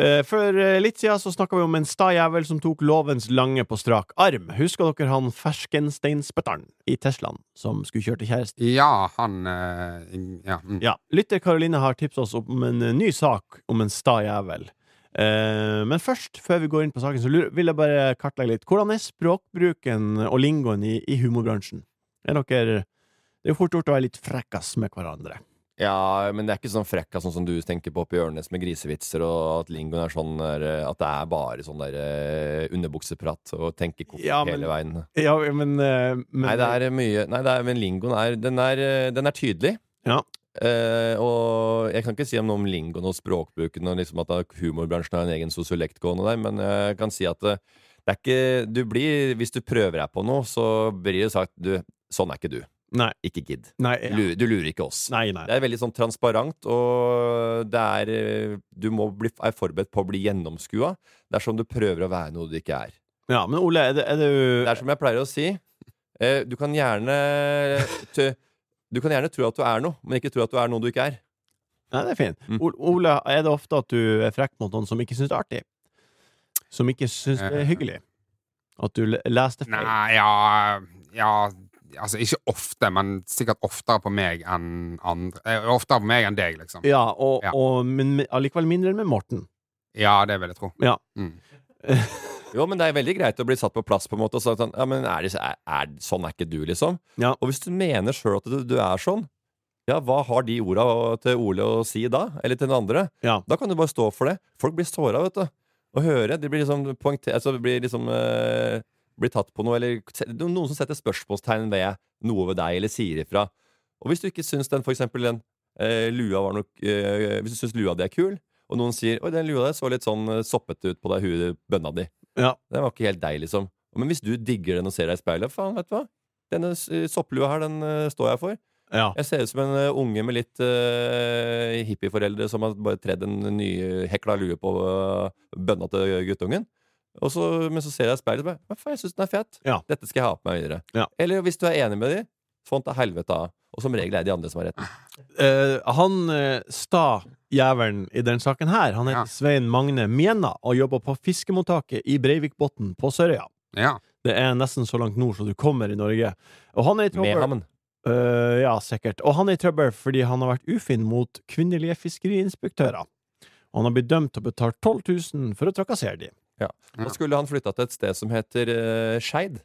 Eh, For eh, litt siden så snakka vi om en sta jævel som tok lovens lange på strak arm. Husker dere han Ferskensteinspytteren i Teslaen som skulle kjøre til kjæresten? Ja, han eh, ja, mm. Ja. Lytter Karoline har tipsa oss om en eh, ny sak om en sta jævel. Eh, Men først, før vi går inn på saken, så lurer- vil jeg bare kartlegge litt. Hvordan er språkbruken og lingoen i, i humorbransjen? Er dere Det er jo fort gjort å være litt frekkas med hverandre. Ja, men det er ikke sånn frekka sånn som du tenker på oppi Ørnes med grisevitser, og at lingoen er sånn der, eh, At det er bare sånn der eh, underbukseprat og tenke kokt Ja, men- hele veien. Ja, men, eh, men Nei, det er mye Nei, det er, men lingoen er Den er, eh, den er tydelig. Ja. Eh, og jeg kan ikke si om noe om lingoen og språkbruken og liksom at da humorbransjen har en egen sosiolekt gående der, men jeg kan si at eh, det er ikke Du blir Hvis du prøver deg på noe, så blir det sagt Du, sånn er ikke du. Ikke gidd. Nei, Du lurer- Du lurer ikke oss. Nei, nei. Det er veldig sånn transparent, og det er eh, Du må bli, er forberedt på å bli gjennomskua dersom du prøver å være noe du ikke er. Ja, men Ole, er det, er det Det er som jeg pleier å si. eh, Du kan gjerne t Du kan gjerne tro at du er noe, men ikke tro at du er noe du ikke er. Nei, det er fint. Mm. O- Ole, er det ofte at du er frekk mot noen som ikke syns det er artig? Som ikke syns Eh. det er hyggelig? At du le- leser det feil? Nei, ja, ja Altså, ikke ofte, men sikkert oftere på meg enn andre. Eh, Oftere på meg enn deg, liksom. Ja, og, og men men allikevel mindre enn med Morten. Ja, det vil jeg tro. Ja. Mm. Jo, men det er veldig greit å bli satt på plass på en måte og sagt sånn Ja, men er det, er, er, sånn er ikke du, liksom. Ja. Og hvis du mener sjøl at du, du er sånn, ja, hva har de orda til Ole å si da? Eller til den andre? Da kan du bare stå for det. Folk blir såra, vet du. Å høre. De blir liksom poengtert Altså, de blir liksom eh, Blir tatt på noe, eller se- no- noen som setter spørsmålstegn ved noe ved deg, eller sier ifra. Og hvis du ikke syns den, for eksempel den eh, lua var nok eh, Hvis du syns lua di er kul, og noen sier 'Oi, den lua der så litt sånn eh, soppete ut på deg, huet bønna di'. Ja. Den var ikke helt deg, liksom. Men hvis du digger den og ser deg i speilet, faen, vet du hva? Denne s- sopplua her, den eh, står jeg for. Jeg ser ut som en eh, unge med litt eh, hippieforeldre som har bare tredd en nyhekla lue på eh, bønna til guttungen. Og så, men så ser jeg i speilet og bare «Hva faen, jeg syns den er fet. Dette skal jeg ha på meg videre. Eller hvis du er enig med dem, font til helvete av. Og som regel er det de andre som har rett. Eh, han eh, sta jævelen i den saken her, han heter Svein Magne Mjena og jobber på fiskemottaket i Breivikbotn på Sørøya. Ja. Det er nesten så langt nord som du kommer i Norge. Og han er i trøbbel. Mehamn. Eh, ja, sikkert. Og han er i trøbbel fordi han har vært ufin mot kvinnelige fiskeriinspektører. Og han har blitt dømt og betalt 12 000 for å trakassere dem. Ja. Da skulle han flytta til et sted som heter uh, Skeid.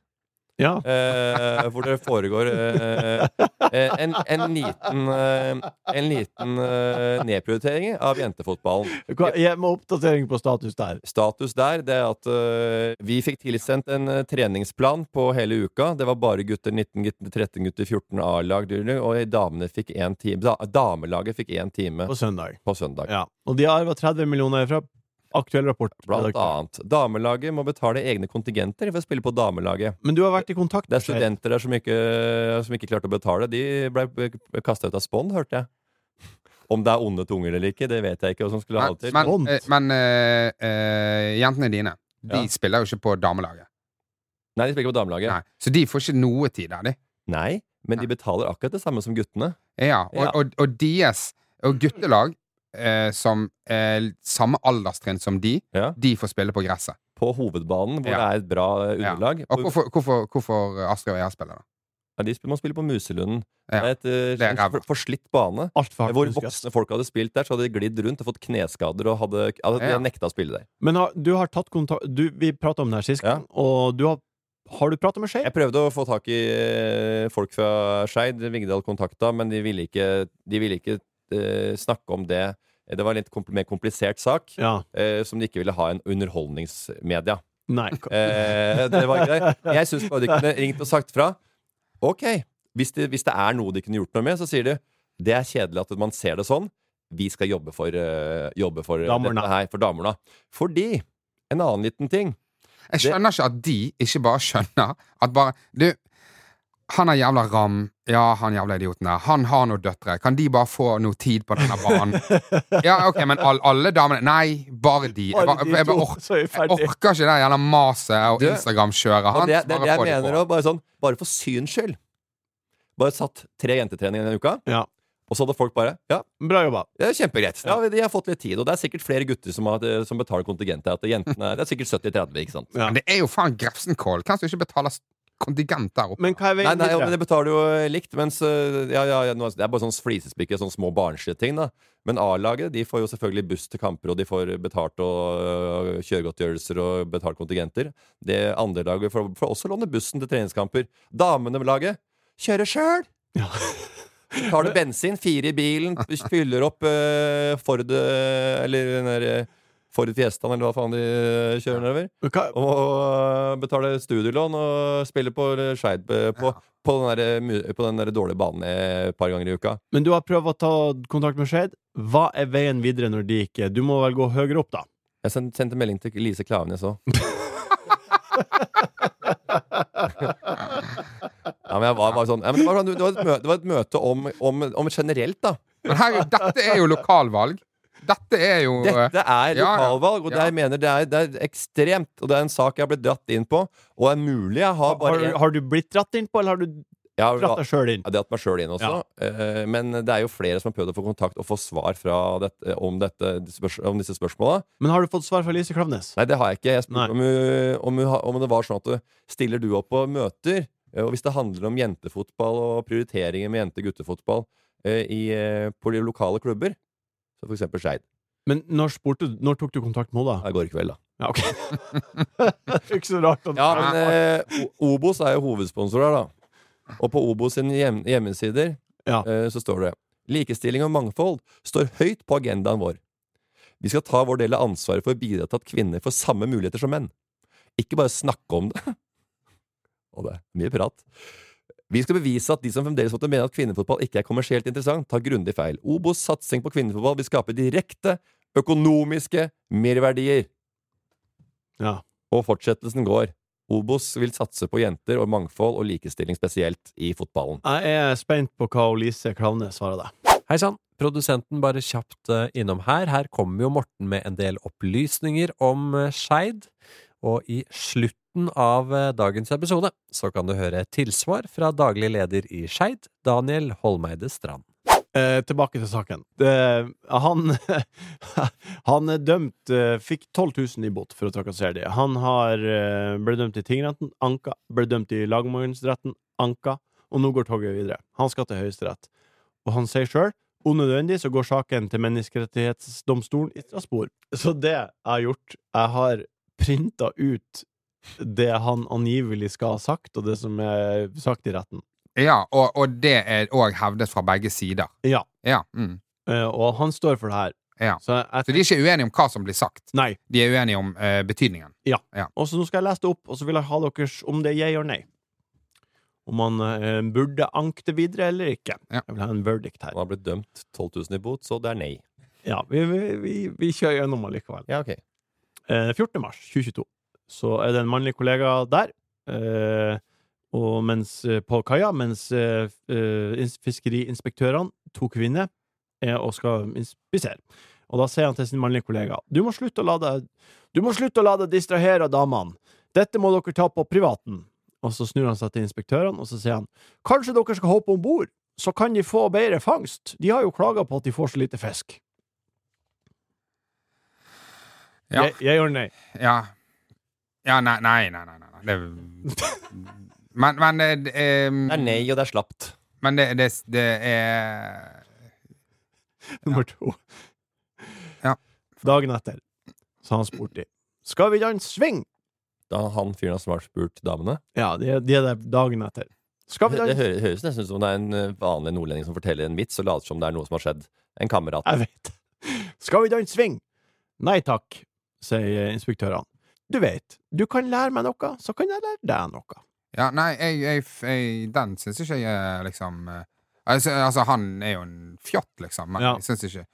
Ja. Eh, hvor det foregår eh, eh, en, en liten, eh, en liten eh, nedprioritering av jentefotballen. Jeg må oppdatering på status der. Status der det er at eh, vi fikk tilsendt en eh, treningsplan på hele uka. Det var bare gutter 19, gutter 13, gutter 14 A-lag, og damene fikk en time, da, damelaget fikk én time På søndag. På søndag. Og de har arva 30 millioner fra aktuell rapport. Blant annet. Damelaget må betale egne kontingenter for å spille på damelaget. Men du har vært i kontakt Det er studenter der som ikke, som ikke klarte å betale. De ble kasta ut av spond, hørte jeg. Om det er onde tunger eller ikke, det vet jeg ikke. hva som skulle ha det til. Men, eh, men eh, eh, jentene dine, de Ja. spiller jo ikke på damelaget. Nei, de spiller ikke på damelaget. Så de får ikke noe tid der, de. Nei, men de betaler akkurat det samme som guttene. Ja, og, Ja. og, og deres og guttelag eh, som er samme alderstrinn som de, de får spille på gresset. På hovedbanen, hvor det er et bra eh, underlag. Og hvorfor, hvorfor, hvorfor Astrid og jeg spiller, da? Ja, de spiller- må spille på Muselunden. Ja. Det er et, eh, en for- forslitt bane. Hvor voksne folk hadde spilt der, så hadde de glidd rundt og fått kneskader og hadde, hadde Ja. nekta å spille der. Men har, du har tatt kontakt du, Vi prata om det her sist, gang, og du har Har du prata med Skeid? Jeg prøvde å få tak i eh, folk fra Skeid, Vigdal kontakta, men de ville ikke, de ville ikke eh, snakke om det. Det var en litt kompl mer komplisert sak, eh, som de ikke ville ha en underholdningsmedia. Nei. Eh, det var ikke det. Jeg syns bare de kunne ringt og sagt fra. Ok, hvis det, hvis det er noe de kunne gjort noe med, så sier de det er kjedelig at man ser det sånn. Vi skal jobbe for, eh, jobbe for Damerna. dette her, for damerna. Fordi en annen liten ting Jeg skjønner ikke at de ikke bare skjønner at bare Du, han er jævla ram. Ja, han jævla idioten der. Han har noen døtre. Kan de bare få noe tid på denne banen? Ja, ok, men all, alle damene Nei, bare de. Jeg, Bare bare, de jeg, bare to, ork, så er vi jeg ferdig. orker ikke det jævla maset og Du, Instagram-kjøret Og hans. det, det, er det Bare jeg få de mener på. også, bare, sånn, bare for syns skyld. Bare satt tre jentetreninger denne uka, og så hadde folk bare Ja, bra jobba. Det er kjempegreit. Ja, de har fått litt tid, og det er sikkert flere gutter som, har, som betaler kontingent. At jentene, det er sikkert 70-30, ikke sant? Men det er jo faen Grefsenkål. Hvem som ikke betaler s- kontingent der oppe? Men hva Nei, nei, ja, men det betaler jo eh, likt, mens øh, ja, ja, ja, nå er- Det er bare sånn flisespikker, sånne små barnslige ting, da. Men A-laget de får jo selvfølgelig buss til kamper, og de får betalt og øh, kjøregodtgjørelser og betalt kontingenter. Det andre laget får, får også låne bussen til treningskamper. Damene-laget kjører sjøl! Tar du bensin, fire i bilen, fyller opp øh, Ford øh, Eller den der øh, Ford Fiestaen, eller hva faen de øh, kjører nedover. Og, og betaler studielån og spiller på øh, Skeid øh, på, på, den der, øh, mu- på den der dårlige banen øh, et par ganger i uka. Men du har prøvd å ta kontakt med Skeid. Hva er veien videre når de ikke Du må vel gå høyere opp, da? Jeg send- sendte melding til Lise Klaveness òg. Ja, men jeg var, var sånn, ja, men det, var, sånn- det var et møte, det var et møte om, om, om generelt, da. Men her, dette er jo lokalvalg. Dette er jo eh, Dette ja, er ja. lokalvalg, og det, Ja. jeg mener, det, er, det er ekstremt. Og det er en sak jeg ble dratt inn på, og det er mulig jeg har Har, bare en- har du blitt dratt innpå, eller har du jeg har- dratt deg sjøl inn? Jeg har dratt meg sjøl inn også. eh, Men det er jo flere som har prøvd å få kontakt og få svar fra dette, om, dette, spørs- om disse spørsmåla. Men har du fått svar fra Lise Klavnes? Nei, det har jeg ikke. Jeg Nei. spurte om, hun- om, hun ha- om det var sånn at du stiller du opp på møter, eh, og hvis det handler om jentefotball og prioriteringer med jente-guttefotball eh, i, eh, på de lokale klubber, så for eksempel Skeid. Men når, spurte, du- når tok du kontakt med henne, da? Det går i kveld, da. Ja, ok. det er ikke så rart. At, Ja, men eh, O- Obos er jo hovedsponsor her, da. Og på Obos sin hjem hjemmesider Ja. eh, så står det Likestilling og mangfold står høyt på agendaen vår. Vi skal ta vår del av ansvaret for å bidra til at kvinner får samme muligheter som menn. Ikke bare snakke om det. Og det er mye prat. Vi skal bevise at de som fremdeles måtte mene at kvinnefotball ikke er kommersielt interessant, tar grundig feil. Obos satsing på kvinnefotball vil skape direkte økonomiske merverdier. Ja. Og fortsettelsen går. Obos vil satse på jenter og mangfold og likestilling spesielt i fotballen. Jeg er spent på hva Lise Klavnes svarer deg. Hei sann, produsenten bare kjapt eh, innom her. Her kommer jo Morten med en del opplysninger om eh, Skeid. Og i slutten av eh, dagens episode så kan du høre et tilsvar fra daglig leder i Skeid, Daniel Holmeide Strand. Eh, tilbake til saken. Det- han, han er dømt eh, Fikk 12 000 i bot for å trakassere dem. Han har, eh, ble dømt i tingretten, anka. Ble dømt i lagmannsretten, anka. Og nå går toget videre. Han skal til Høyesterett. Og han sier sjøl unødvendig så går saken til Menneskerettighetsdomstolen i Strasbourg. Så det jeg har gjort Jeg har printa ut det han angivelig skal ha sagt, og det som er sagt i retten. Ja, og, og det er òg hevdet fra begge sider. Ja. Ja, mm. Eh, og han står for det her. Ja. Så jeg, jeg Så de er ikke uenige om hva som blir sagt. Nei. De er uenige om eh, betydningen. Og så nå skal jeg lese det opp, og så vil jeg ha deres om det er jeg eller nei. Om han eh, burde anke det videre eller ikke. Ja. Jeg vil ha en verdict her. Han har blitt dømt 12 000 i bot, så det er nei. Ja, vi, vi, vi, vi kjører gjennom allikevel. Ja, ok. Eh, 14. mars 2022 så er det en mannlig kollega der, eh, og mens, eh, på kaia, mens eh, f- eh, ins- fiskeriinspektørene, to kvinner, eh, og skal inspisere. Og da sier han til sin mannlige kollega Du må slutte å la deg, du må slutte å la deg distrahere av damene. Dette må dere ta på privaten. Og så snur han seg til inspektørene, og så sier han Kanskje dere skal hoppe om bord? Så kan de få bedre fangst. De har jo klaga på at de får så lite fisk. Ja. Jeg, jeg gjør nei. Ja, ja nei, nei, nei, nei, nei. Det, men men, eh, d- eh, Det er nei, og det er slapt. men det, det, det er Nummer to. Ja. Dagen etter så har han spurt de Skal vi danse swing? Da han fyren har svart spurt damene. Ja, de er, de er der dagen etter. Skal vi Det danse hø- høres nesten ut som det er en eh, vanlig nordlending som forteller en vits og later som det er noe som har skjedd. En kamerat. Jeg vet. Skal vi danse swing? Nei takk, sier inspektørene. Du vet, du kan lære meg noe, så kan jeg lære deg noe. Ja, nei, jeg, jeg, jeg, den syns ikke jeg er liksom eh, altså, altså, han er jo en fjott, liksom, men Ja. jeg syns ikke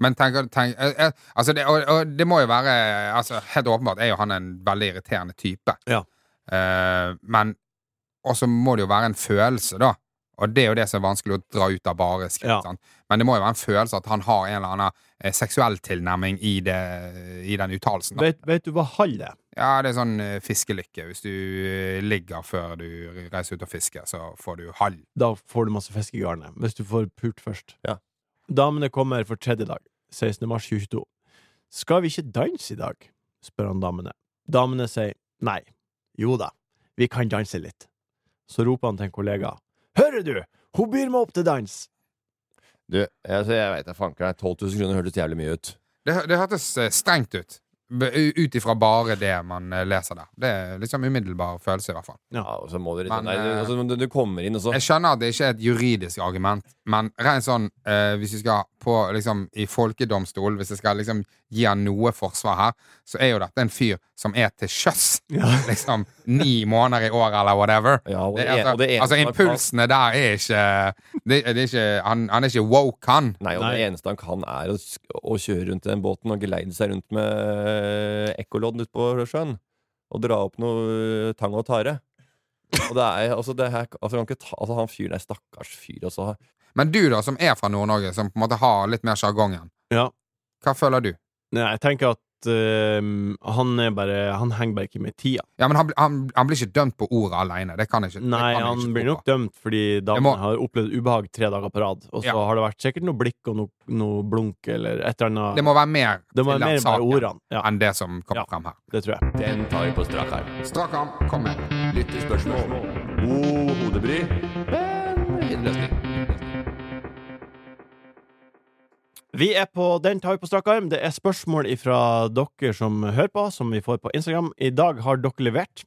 Men tenker, tenk, eh, eh, altså det, og, og det må jo være altså, Helt åpenbart er jo han en veldig irriterende type. Ja. Eh, men Og så må det jo være en følelse, da. Og det er jo det som er vanskelig å dra ut av bare skritt. Ja. Sant? Men det må jo være en følelse at han har en eller annen eh, seksuell tilnærming i, det, i den uttalelsen. da. Vet, vet du hva hall er? Ja, det er sånn eh, fiskelykke. Hvis du eh, ligger før du reiser ut og fisker, så får du halv. Da får du masse fisk i garnet, hvis du får pult først. Ja. Damene kommer for tredje dag, 16. mars 2022. Skal vi ikke danse i dag? spør han damene. Damene sier nei. Jo da, vi kan danse litt. Så roper han til en kollega. Hører du, hun byr meg opp til dans! Du, altså, jeg veit da fanker. 12 000 kroner hørtes jævlig mye ut. Det, hø- det hørtes eh, strengt ut. B- u- Ut ifra bare det man eh, leser der. Det er liksom umiddelbar følelse, i hvert fall. Ja, og så må du litt Men, Nei, du, eh, altså, du, du kommer inn, og så Jeg skjønner at det ikke er et juridisk argument, men rent sånn eh, Hvis vi skal på liksom i folkedomstol, hvis jeg skal liksom gi han noe forsvar her, så er jo dette en fyr som er til sjøs liksom ni måneder i året, eller whatever. ja, og Det, det er altså, en- og det eneste altså han- Impulsene der er ikke, det, det er ikke han, han er ikke woke, han. Nei, og det eneste han kan, er å, sk- å kjøre rundt i den båten og geleide seg rundt med eh, ekkolodd ute på sjøen. Og dra opp noe eh, tang og tare. Og det er, altså, det her, altså, jeg kan ikke ta, altså, han fyren er stakkars fyr. Altså. Men du, da, som er fra Nord-Norge, som på en måte har litt mer sjargongen, Ja. hva føler du? Nei, jeg tenker at ehm, han er bare Han henger bare ikke med tida. Ja, men han, bl- han, han blir ikke dømt på ordet alene. Det kan ikke det Nei, kan jeg han ikke blir tro nok dømt fordi damen må- har opplevd ubehag tre dager på rad. Og så Ja. har det vært sikkert noe blikk og noe, noe blunk eller et på. eller annet. Det må være mer Det til må være mer den enn bare saken ordene. Ja, enn det som kommer fram her. det tror jeg. Den tar vi på strak arm. Strak arm, kom med. Lyttespørsmål. God hodebry, men innløsning. Vi er på Den tar vi på strak arm. Det er spørsmål fra dere som hører på, som vi får på Instagram. I dag har dere levert.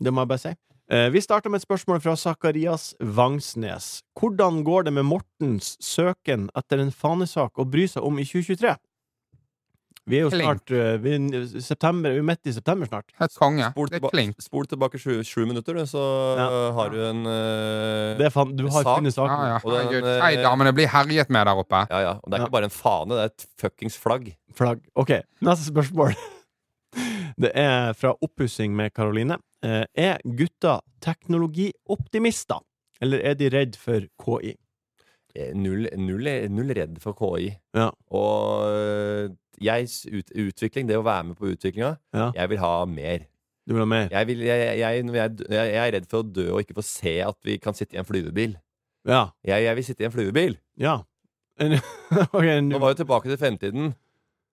Det må jeg bare si. Eh, Vi starter med et spørsmål fra Sakarias Vangsnes. Hvordan går det med Mortens søken etter en fanesak å bry seg om i 2023? Vi er jo snart eh, vi er n- september, vi er midt i september snart. Helt konge. Spol, Det er tilba flink. spol tilbake sju, sju minutter, du, så Ja. øh, har du en øh, Det er fan, du har sak. funnet Ja, saken. ja. Og den, Herregud. eh, Hei, damene blir herjet med der oppe. Ja, ja. Og det er Ja. ikke bare en fane, det er et fuckings flagg. Flagg. Ok, neste spørsmål. Det er fra Oppussing med Karoline. Eh, Er gutta teknologioptimister, eller er de redd for KI? Eh, Null, null, null redd for KI. Ja. Og øh, jegs ut, utvikling, det å være med på utviklinga, Ja. jeg vil ha mer. Du vil ha mer? Jeg, vil, jeg, jeg, når jeg, dø- jeg, jeg er redd for å dø og ikke få se at vi kan sitte i en flyvebil. Ja. Jeg, jeg vil sitte i en flyvebil. Ja. En- Ok, en- Nå var jo tilbake til fremtiden,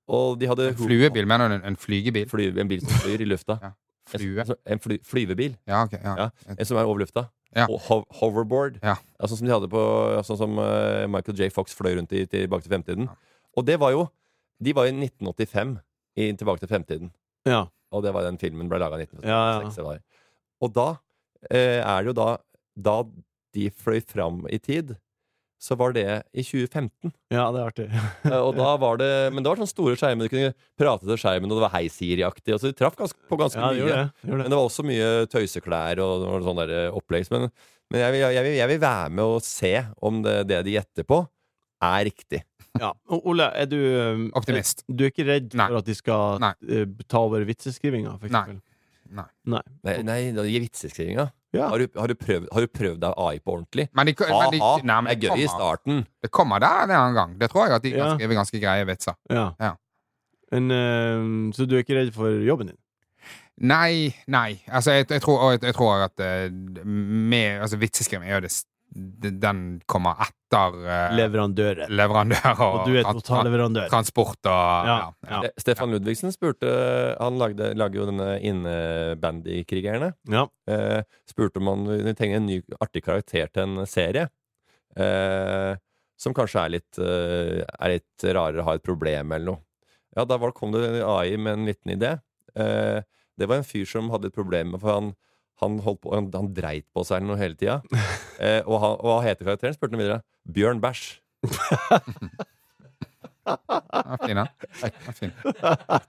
og de hadde En fluebil, mener du? En- En flygebil? Fly, en bil som flyr i lufta. Ja. En, Flue? som- en fly, flyvebil. Ja, ok. Ja. Ja. En som er over lufta. Ja. Og hov- hoverboard. Ja. Ja, sånn som de hadde på Sånn som eh, Michael J. Fox fløy rundt i Tilbake til fremtiden. Og det var jo De var i 1985 i Tilbake til fremtiden. Ja. Og det var den filmen ble laga i 1986. Ja, ja. det var. Og da eh, er det jo da Da de fløy fram i tid, så var det i 2015. ja, det er artig. Eh, Og da var det Men det var sånne store skjermer, du kunne prate til skjermen, og det var Hei Siri-aktig. Altså, de traff gans- på ganske Ja, det mye. gjorde det. det, gjorde Men det. det var også mye tøyseklær og noe sånn der opplegg. Men, men jeg, vil, jeg, vil, jeg vil være med og se om det, det de gjetter på, er riktig. Ja. Og Ole, er du eh, Optimist. Du er ikke redd Nei. for at de skal Nei. eh, ta over vitseskrivinga, for Nei. eksempel? Nei. Nei. Nei, nei det gir vitseskrivinga. Ja. Har, du- har, du prøvd- har du prøvd deg AI på ordentlig? Men de, Ha-ha, men de, det nei, men er det gøy i kommer, starten. det kommer der en annen gang. Det tror jeg at de Ja. kan skrive ganske greie vitser. Ja. Ja. Men, eh, så du er ikke redd for jobben din? Nei, nei. Altså, jeg, jeg, tror, og jeg, jeg tror at eh, med, altså, vitseskriving er jo det s- det Den kommer etter eh, Leverandører. leverandør og, Og du er trans- totalleverandør. transport og ja. Ja, ja. Eh, Stefan Ludvigsen spurte eh, Han lagde, lager jo denne innebandykrigerne. Ja. Eh, spurte om han ville trenge en ny artig karakter til en serie. Eh, som kanskje er litt, eh, er litt rarere, har et problem eller noe. Ja, da var, kom det en AI med en liten idé. Eh, det var en fyr som hadde et problem, for han, han, holdt på, han, han dreit på seg eller noe hele tida. Eh, og, han- og hva heter karakteren? spurte han videre. Bjørn Bæsj. Ja, fin, ja. Ja, fin.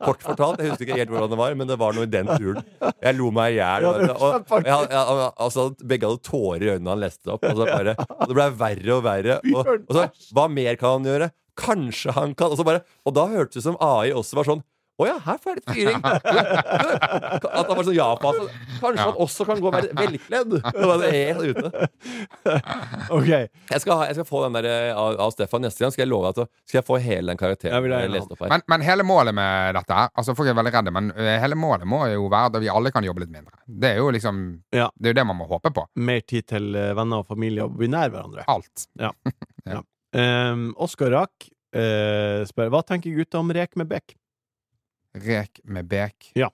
Kort fortalt, jeg husker ikke helt hvordan det var, men det var noe i den turen. Jeg lo meg i hjel. Ja, og- det og- var og jeg- jeg- Altså, begge hadde tårer i øynene da han leste det opp. Og, så bare, og det ble verre og verre. Og, og så, hva mer kan han gjøre? Kanskje han kan Og, så bare, og da hørtes det ut som AI også var sånn å ja, her får jeg litt fyring! At han var sånn ja på altså, Kanskje han også kan gå og være velkledd! Og da var det helt ute. Ok. Jeg skal, ha- jeg skal få den der eh, av, av Stefan neste gang. Skal jeg love at Skal jeg få hele den karakteren Jeg vil jeg gjerne ha leste opp her. Men, men hele målet med dette her Altså Folk er veldig redde, men eh, hele målet må jo være at vi alle kan jobbe litt mindre. Det er jo liksom Ja. Det er jo det man må håpe på. Mer tid til eh, venner og familie og bli nær hverandre. Alt. Um, Oskar Rack eh, spør hva tenker gutta om rek med bek? Rek med bek. Ja.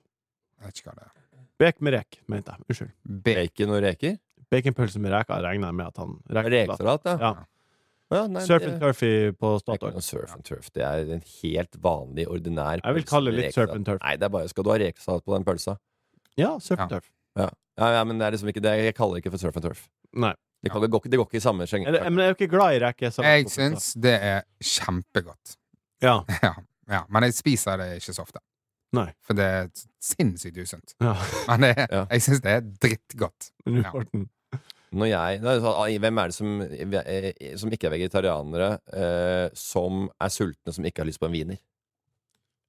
Jeg vet ikke hva det er. Bek med rek, mente jeg. Unnskyld. Bek. Bacon og reker? Baconpølse med reker regner jeg med at han reker. Rekesalat, ja. Ja. Ja, nei, Surf det- and turfy på Det er ikke Statoil. noe surf and turf. Det er en helt vanlig, ordinær Jeg vil pølse kalle det med litt rekesalat. surf and turf. Nei, det er bare skal du ha rekesalat på den pølsa. Ja, surf and Ja. turf. Ja, ja, men det er liksom ikke det, Jeg kaller det ikke for surf and turf. Nei. Det, kan, det, går, ikke- det går ikke i samme skjeng. Er det, men jeg er jo ikke glad i reker. så- Jeg syns det er kjempegodt. Ja. Ja, ja, men jeg spiser det ikke så ofte. Nei. For det er sinnssykt usunt. ja. Men det, Ja. jeg syns det er drittgodt. Men Ja. du får den. Når jeg, nei, så, ai, hvem er det som, eh, som ikke er vegetarianere, eh, som er sultne, som ikke har lyst på en wiener?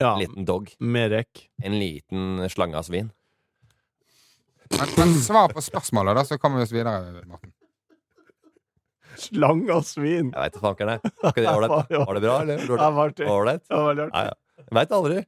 ja. En liten dog. Med rek. En liten slange av svin. Men, men svar på spørsmålet, da, så kommer vi oss videre. Morten. Slang og svin. Jeg veit da fankeren, jeg. Var ikke det ålreit? da? Var det bra, eller? Ja, det var artig. Ålreit? Det var veldig artig. Ja, ja. Jeg veit aldri.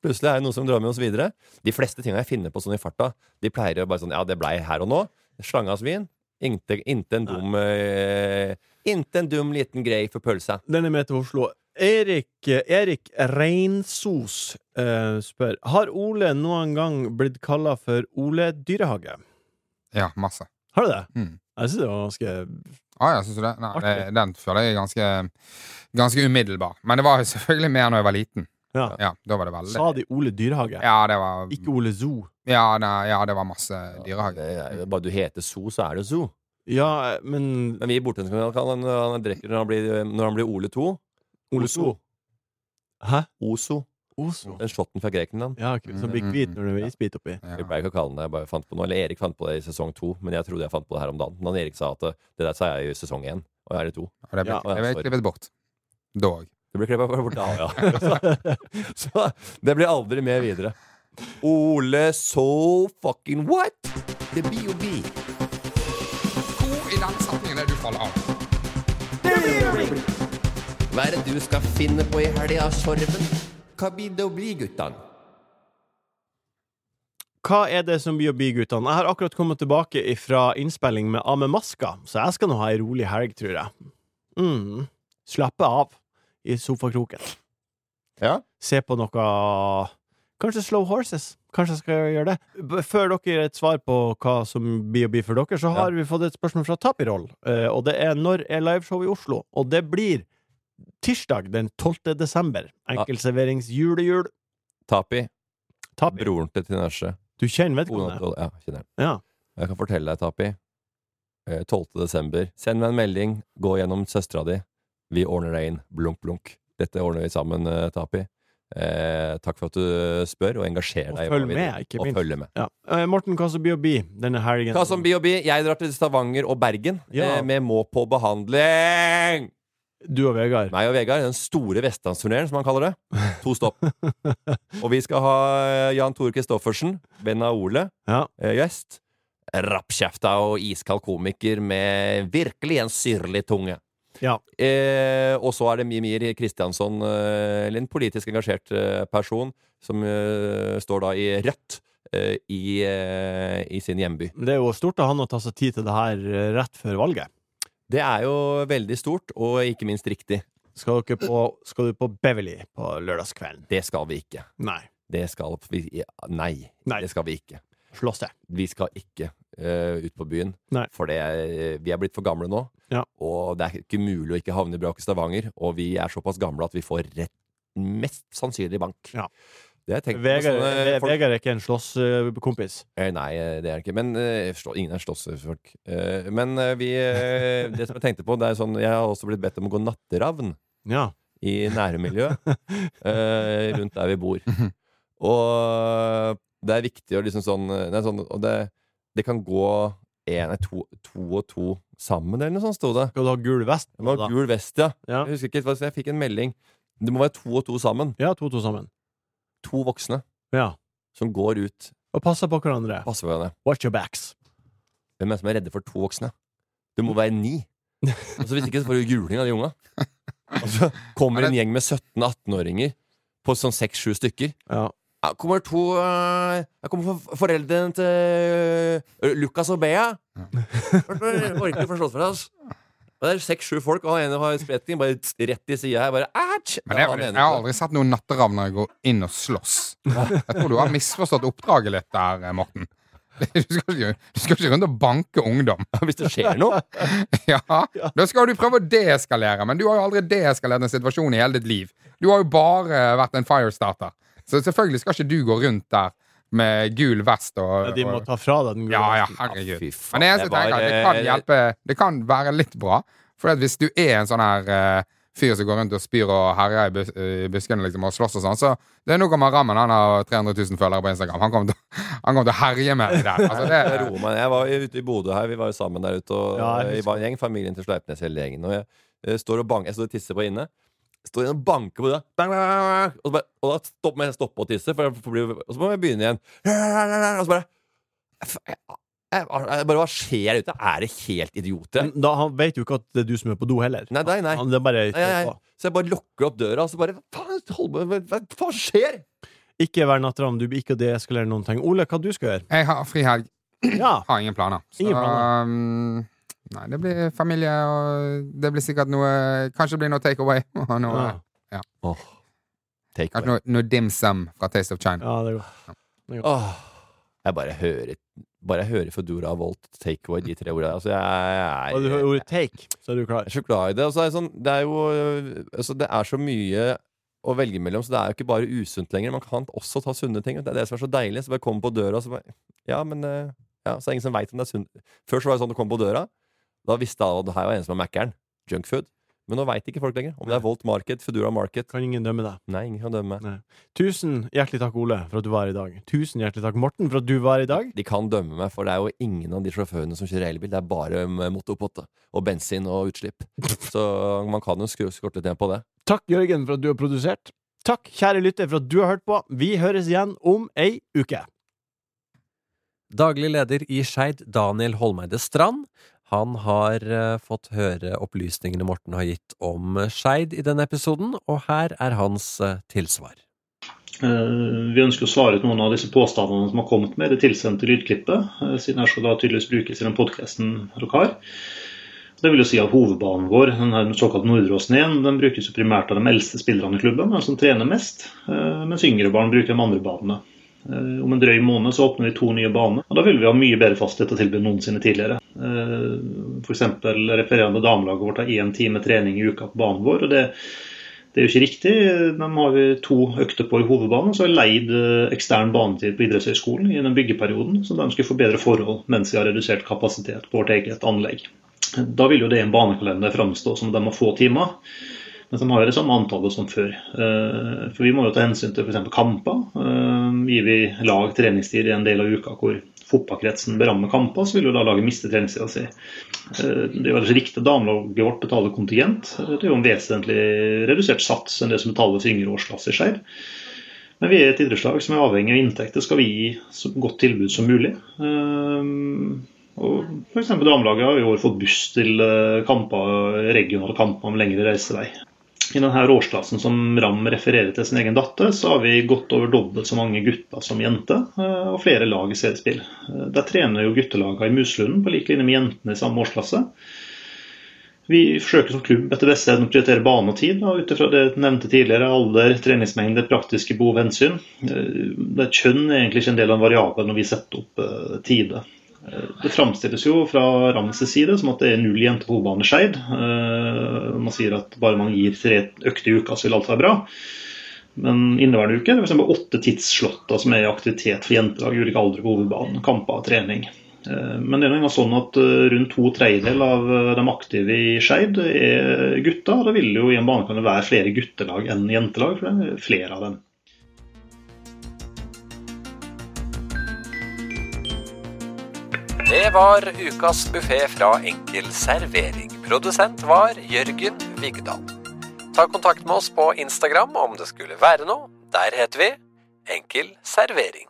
Plutselig er det noe som drar med oss videre. De fleste tinga jeg finner på sånn i farta, de pleier jo bare sånn Ja, det blei her og nå. Slange av svin. Inte, inte en dum eh, Inte en dum liten grei for pølsa. Den er med til Oslo. Erik, Erik Reinsos eh, spør Har Ole noen gang blitt kalla for Ole Dyrehage. Ja, masse. Har du det? Mm. Jeg syns det var ganske Ah, ja, syns du det? Nei, det, Artig. den føler jeg er ganske, ganske umiddelbar. Men det var jo selvfølgelig mer når jeg var liten. ja. Ja, da var det veldig Sa de Ole Dyrehage? Ja, det var, Ikke Ole Zoo? ja, nei, ja, det var masse dyrehage. Det er- Bare du heter So, så er det So. Ja, men Men vi i Bortenlandskanalen kan han, han drikker når han blir, når han blir Ole 2. Ole Oso. Hæ? Oso. Oso? Den shotten fra Grekenland. Ja, ok, som blir hvit når det er isbit oppi? Vi Ja. pleier ikke å kalle den det, jeg bare fant på noe. Eller Erik fant på det i sesong to, men jeg trodde jeg fant på det her om dagen. Men han Erik sa at eh, det der sa jeg i sesong én, og jeg er i to. Og det ble, Ja, det ble sorry. klippet bort. Dog. Det ble klippet bort, ja. ja. Så, så det blir aldri med videre. Ole so fucking what? The BOB. Hvor i den setningen er det du faller av? Hva er det du skal finne på i helga, Sorven? Hva blir det å bli, guttan? Hva er det som blir å bli, guttene? Jeg har akkurat kommet tilbake fra innspilling med Av med maska, så jeg skal nå ha ei rolig helg, tror jeg. Mm. Slappe av i sofakroken. Ja? Se på noe Kanskje Slow Horses. Kanskje jeg skal gjøre det. B- Før dere gir et svar på hva som blir å bli for dere, så har vi fått et spørsmål fra Tapirol, eh, og det er når er liveshow i Oslo? Og det blir tirsdag den 12. desember. Enkeltserverings julejul. Tapi, Tapir. broren til Tinashe. Du kjenner Ona vedkommende? Troll- Ja, kjenner den. Ja. Jeg kan fortelle deg, Tapi. eh, 12. desember. Send meg en melding. Gå gjennom søstera di. Vi ordner deg inn. Blunk, blunk. Dette ordner vi sammen, eh, Tapi. Eh, takk for at du spør og engasjerer Og deg. i følg hva vi med, driver- ikke og minst. følger med. Ja. Eh, Morten, hva som blir å bli denne helgen? Hva som B&B? Jeg drar til Stavanger og Bergen Ja. eh, med Må på behandling! Du og Vegard. Meg og Vegard, den store vestlandsturneren, som han kaller det. To stopp. og vi skal ha eh, Jan Tore Christoffersen, venn av Ole, Ja. eh, gjest. Rappkjefta og iskald komiker med virkelig en syrlig tunge. Ja. Eh, og så er det Mimir Kristiansson, eh, eller en politisk engasjert eh, person, som eh, står da i Rødt eh, i, eh, i sin hjemby. Det er jo stort av han å ta seg tid til det her eh, rett før valget. Det er jo veldig stort, og ikke minst riktig. Skal, dere på, skal du på Beverly på lørdagskvelden? Det skal vi ikke. Nei. Det skal vi ja, Nei, Nei. det skal vi ikke. Slåss det. Vi skal ikke eh, ut på byen, Nei. for det er, vi er blitt for gamle nå. Ja. Og det er ikke mulig å ikke havne i braket Stavanger, og vi er såpass gamle at vi får rett, mest sannsynlig bank. Ja. Det har jeg tenkt på med Vegard, sånne Ve- eh, folk- Vegard er ikke en slåsskompis. Eh, Nei, eh, det er det ikke. Men eh, jeg forstår, ingen er slåssefolk. Eh, Men eh, vi eh, Det som jeg tenkte på, det er sånn Jeg har også blitt bedt om å gå natteravn. Ja. i nærmiljøet eh, rundt der vi bor. Og det er viktig å liksom sånn Det, er sånn, og det, det kan gå en, nei, to, to og to sammen, eller noe sånt, sto det. Skal du ha gul vest? Det var da? gul vest, ja. Ja. Jeg husker ikke, hva- så jeg fikk en melding. Det må være to og to sammen. Ja, to-to sammen. To voksne Ja. som går ut. Og passe på hverandre. Passer på hverandre. Watch your backs. Hvem er det som er redde for to voksne? Det må være ni. Og så Hvis ikke så får du juling av de unga. Og så kommer en gjeng med 17-18-åringer på sånn seks-sju stykker. Ja. Her kommer to eh, Her kommer for- foreldrene til eh, Lukas og Bea. Jeg Orker ikke å forstå for oss. Og det er seks-sju folk, og han ene har spreting bare tss, rett i sida her. Bare, ætsj! Men det, Ja, han jeg ene- har aldri sett noen natteravnere gå inn og slåss. Jeg tror du har misforstått oppdraget litt der, eh, Morten. Du skal, ikke, du skal ikke rundt og banke ungdom. Hvis det skjer noe. Ja, Da skal du prøve å deeskalere, men du har jo aldri deeskalert en situasjon i hele ditt liv. Du har jo bare vært en firestarter. Så selvfølgelig skal ikke du gå rundt der med gul vest og, De må og ta fra deg den gule Ja, ja, vesten. herregud. Fy faen, Men det eneste jeg tenker, det var, det kan eh, hjelpe Det kan være litt bra. For at hvis du er en sånn her eh, fyr som går rundt og spyr og herjer i bus i buskene liksom, og slåss og sånn, så det er nok om han Rammen. Han har 300 000 følgere på Instagram. Han kommer til, han kommer til å herje med deg der. Altså, Jeg det, roer meg. Jeg var ute i Bodø her, vi var jo sammen der ute. Og Ja, jeg eh, vi var en gjeng, familien til Sleipnes hele gjengen. Og jeg, eh, står og banker, jeg står og tisser på inne. Står inne og banker på det. Bang, bang, bang, bang. Og, så bare, og da stopp, må jeg stoppe å tisse, for jeg får bli, og så må jeg begynne igjen. Og så bare Jeg, jeg bare, Hva skjer der ute? Er det helt idioter? Men Da, han vet jo ikke at det er du som er på do heller. Nei, nei, nei. Han, det er bare, Nei, nei, nei. Så jeg bare lukker opp døra, og så bare Faen, hold på, hva, hva faen skjer? Ikke vær natteravn. Du blir ikke å deeskalere noen ting. Ole, hva du skal gjøre? Jeg har frihelg. Ja. Har ingen planer. Så Ingen planer. um, Nei, det blir familie, og det blir sikkert noe Kanskje det blir noe takeaway. Og noe, Ja. ja. Åh, take Kanskje away. noe, noe dim sum fra Taste of China. Ja, det er godt. Åh, jeg bare hører Bare jeg hører Foodora, Volt, Takeaway, de tre ordene. Altså, jeg, Og du jeg, hører ordet take, så er du klar. Jeg er så glad i det. Og så er det, sånn, det er jo øh, altså, Det er så mye å velge mellom, så det er jo ikke bare usunt lenger. Man kan også ta sunne ting. og Det er det som er så deilig. Så bare komme på døra, og så bare Ja, men øh, ja, Så er det ingen som veit om det er sunt. Før så var det sånn at du kom på døra, da visste alle at det her var en som er Mac-eren. Junkfood. Men nå veit ikke folk lenger om det er Volt Market, Foodora Market. Kan ingen dømme deg. Nei, ingen kan dømme. Nei. Tusen hjertelig takk, Ole, for at du var her i dag. Tusen hjertelig takk, Morten, for at du var her i dag. De kan dømme meg, for det er jo ingen av de sjåførene som kjører elbil. Det er bare øh, motorpotte og bensin og utslipp. Så man kan jo skru skorte ned på det. Takk, Jørgen, for at du har produsert. Takk, kjære lytter, for at du har hørt på. Vi høres igjen om ei uke. Daglig leder i Skeid, Daniel Holmeide Strand. Han har eh, fått høre opplysningene Morten har gitt om eh, Skeid i denne episoden, og her er hans eh, tilsvar. Eh, Vi ønsker å svare ut noen av disse påstandene som har kommet med i det tilsendte lydklippet, eh, siden det skal da tydeligvis brukes i den podkasten dere har. Det vil jo si at Hovedbanen vår, den her såkalt Nordåsen 1, den brukes jo primært av de eldste spillerne i klubben, de som trener mest, eh, mens yngre barn bruker de andre banene. Eh, Om en drøy måned så åpner vi to nye baner, og da vil vi ha mye bedre fasthet å tilby enn noensinne tidligere. F.eks. refererende damelaget vårt har én time trening i uka på banen vår, og det det er jo ikke riktig. De har vi to økter på i hovedbanen, og så har vi leid eh, ekstern banetid på idrettshøyskolen i den byggeperioden, så de skal få bedre forhold mens vi har redusert kapasitet på vårt eget anlegg. Da vil jo det i en banekalender framstå som de har få timer, men de har jo det samme antallet som før. Eh, For vi må jo ta hensyn til f.eks. kamper. Eh, Gir vi lag treningstid i en del av uka hvor fotballkretsen berammer kamper, så vil jo da laget miste treningstida si. Eh, Det er jo altså riktig damelaget vårt betaler kontingent. Eh, Det er jo en vesentlig redusert sats enn det som betales i yngre årsklasser i Skeid. Men vi er et idrettslag som er avhengig av inntekter, skal vi gi så godt tilbud som mulig. Ehm, Og f.eks. damelaget har i år fått buss til eh, kamper, regionale kamper med lengre reisevei. I denne årsklassen som Ram refererer til sin egen datter, så har vi godt over dobbelt så mange gutter som jenter, eh, og flere lag i seriespill. Eh, Der trener jo guttelagene i Muslunden på lik linje med jentene i samme årsklasse. Vi forsøker som klubb etter beste evne å prioritere bane og tid, da, ut ifra det jeg nevnte tidligere, alder, treningsmengde, praktiske behov, hensyn. Eh, Det er kjønn er egentlig ikke en del av en variabel når vi setter opp eh, tide. Eh, Det framstilles jo fra Rams side som at det er null jenter på hovedbane Skeid. Eh, Man sier at bare man gir tre økter i uka, så vil alt være bra. Men inneværende uke er det for eksempel åtte tidsslåtter som er i aktivitet for jenter av ulike aldre på hovedbanen. Kamper og trening. Eh, Men det er nå engang sånn at eh, rundt to tredjedeler av eh, de aktive i Skeid er gutter. og Da vil det jo i en banekanal være flere guttelag enn jentelag, for det er flere av dem. Det var ukas buffé fra Enkel servering. Produsent var Jørgen Vigdal. Ta kontakt med oss på Instagram om det skulle være noe. Der heter vi Enkel servering.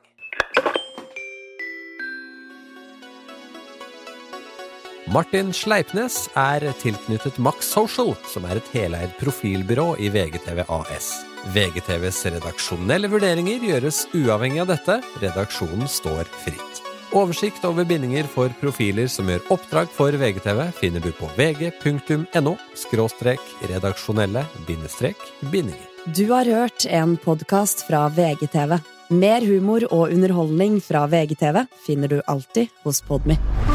Martin Sleipnes er tilknyttet Max Social, som er et heleid profilbyrå i VGTV AS. VGTVs redaksjonelle vurderinger gjøres uavhengig av dette. Redaksjonen står fritt. Oversikt over bindinger for profiler som gjør oppdrag for VGTV, finner du på vg.no redaksjonelle bindinger. Du har hørt en podkast fra VGTV. Mer humor og underholdning fra VGTV finner du alltid hos Podmy.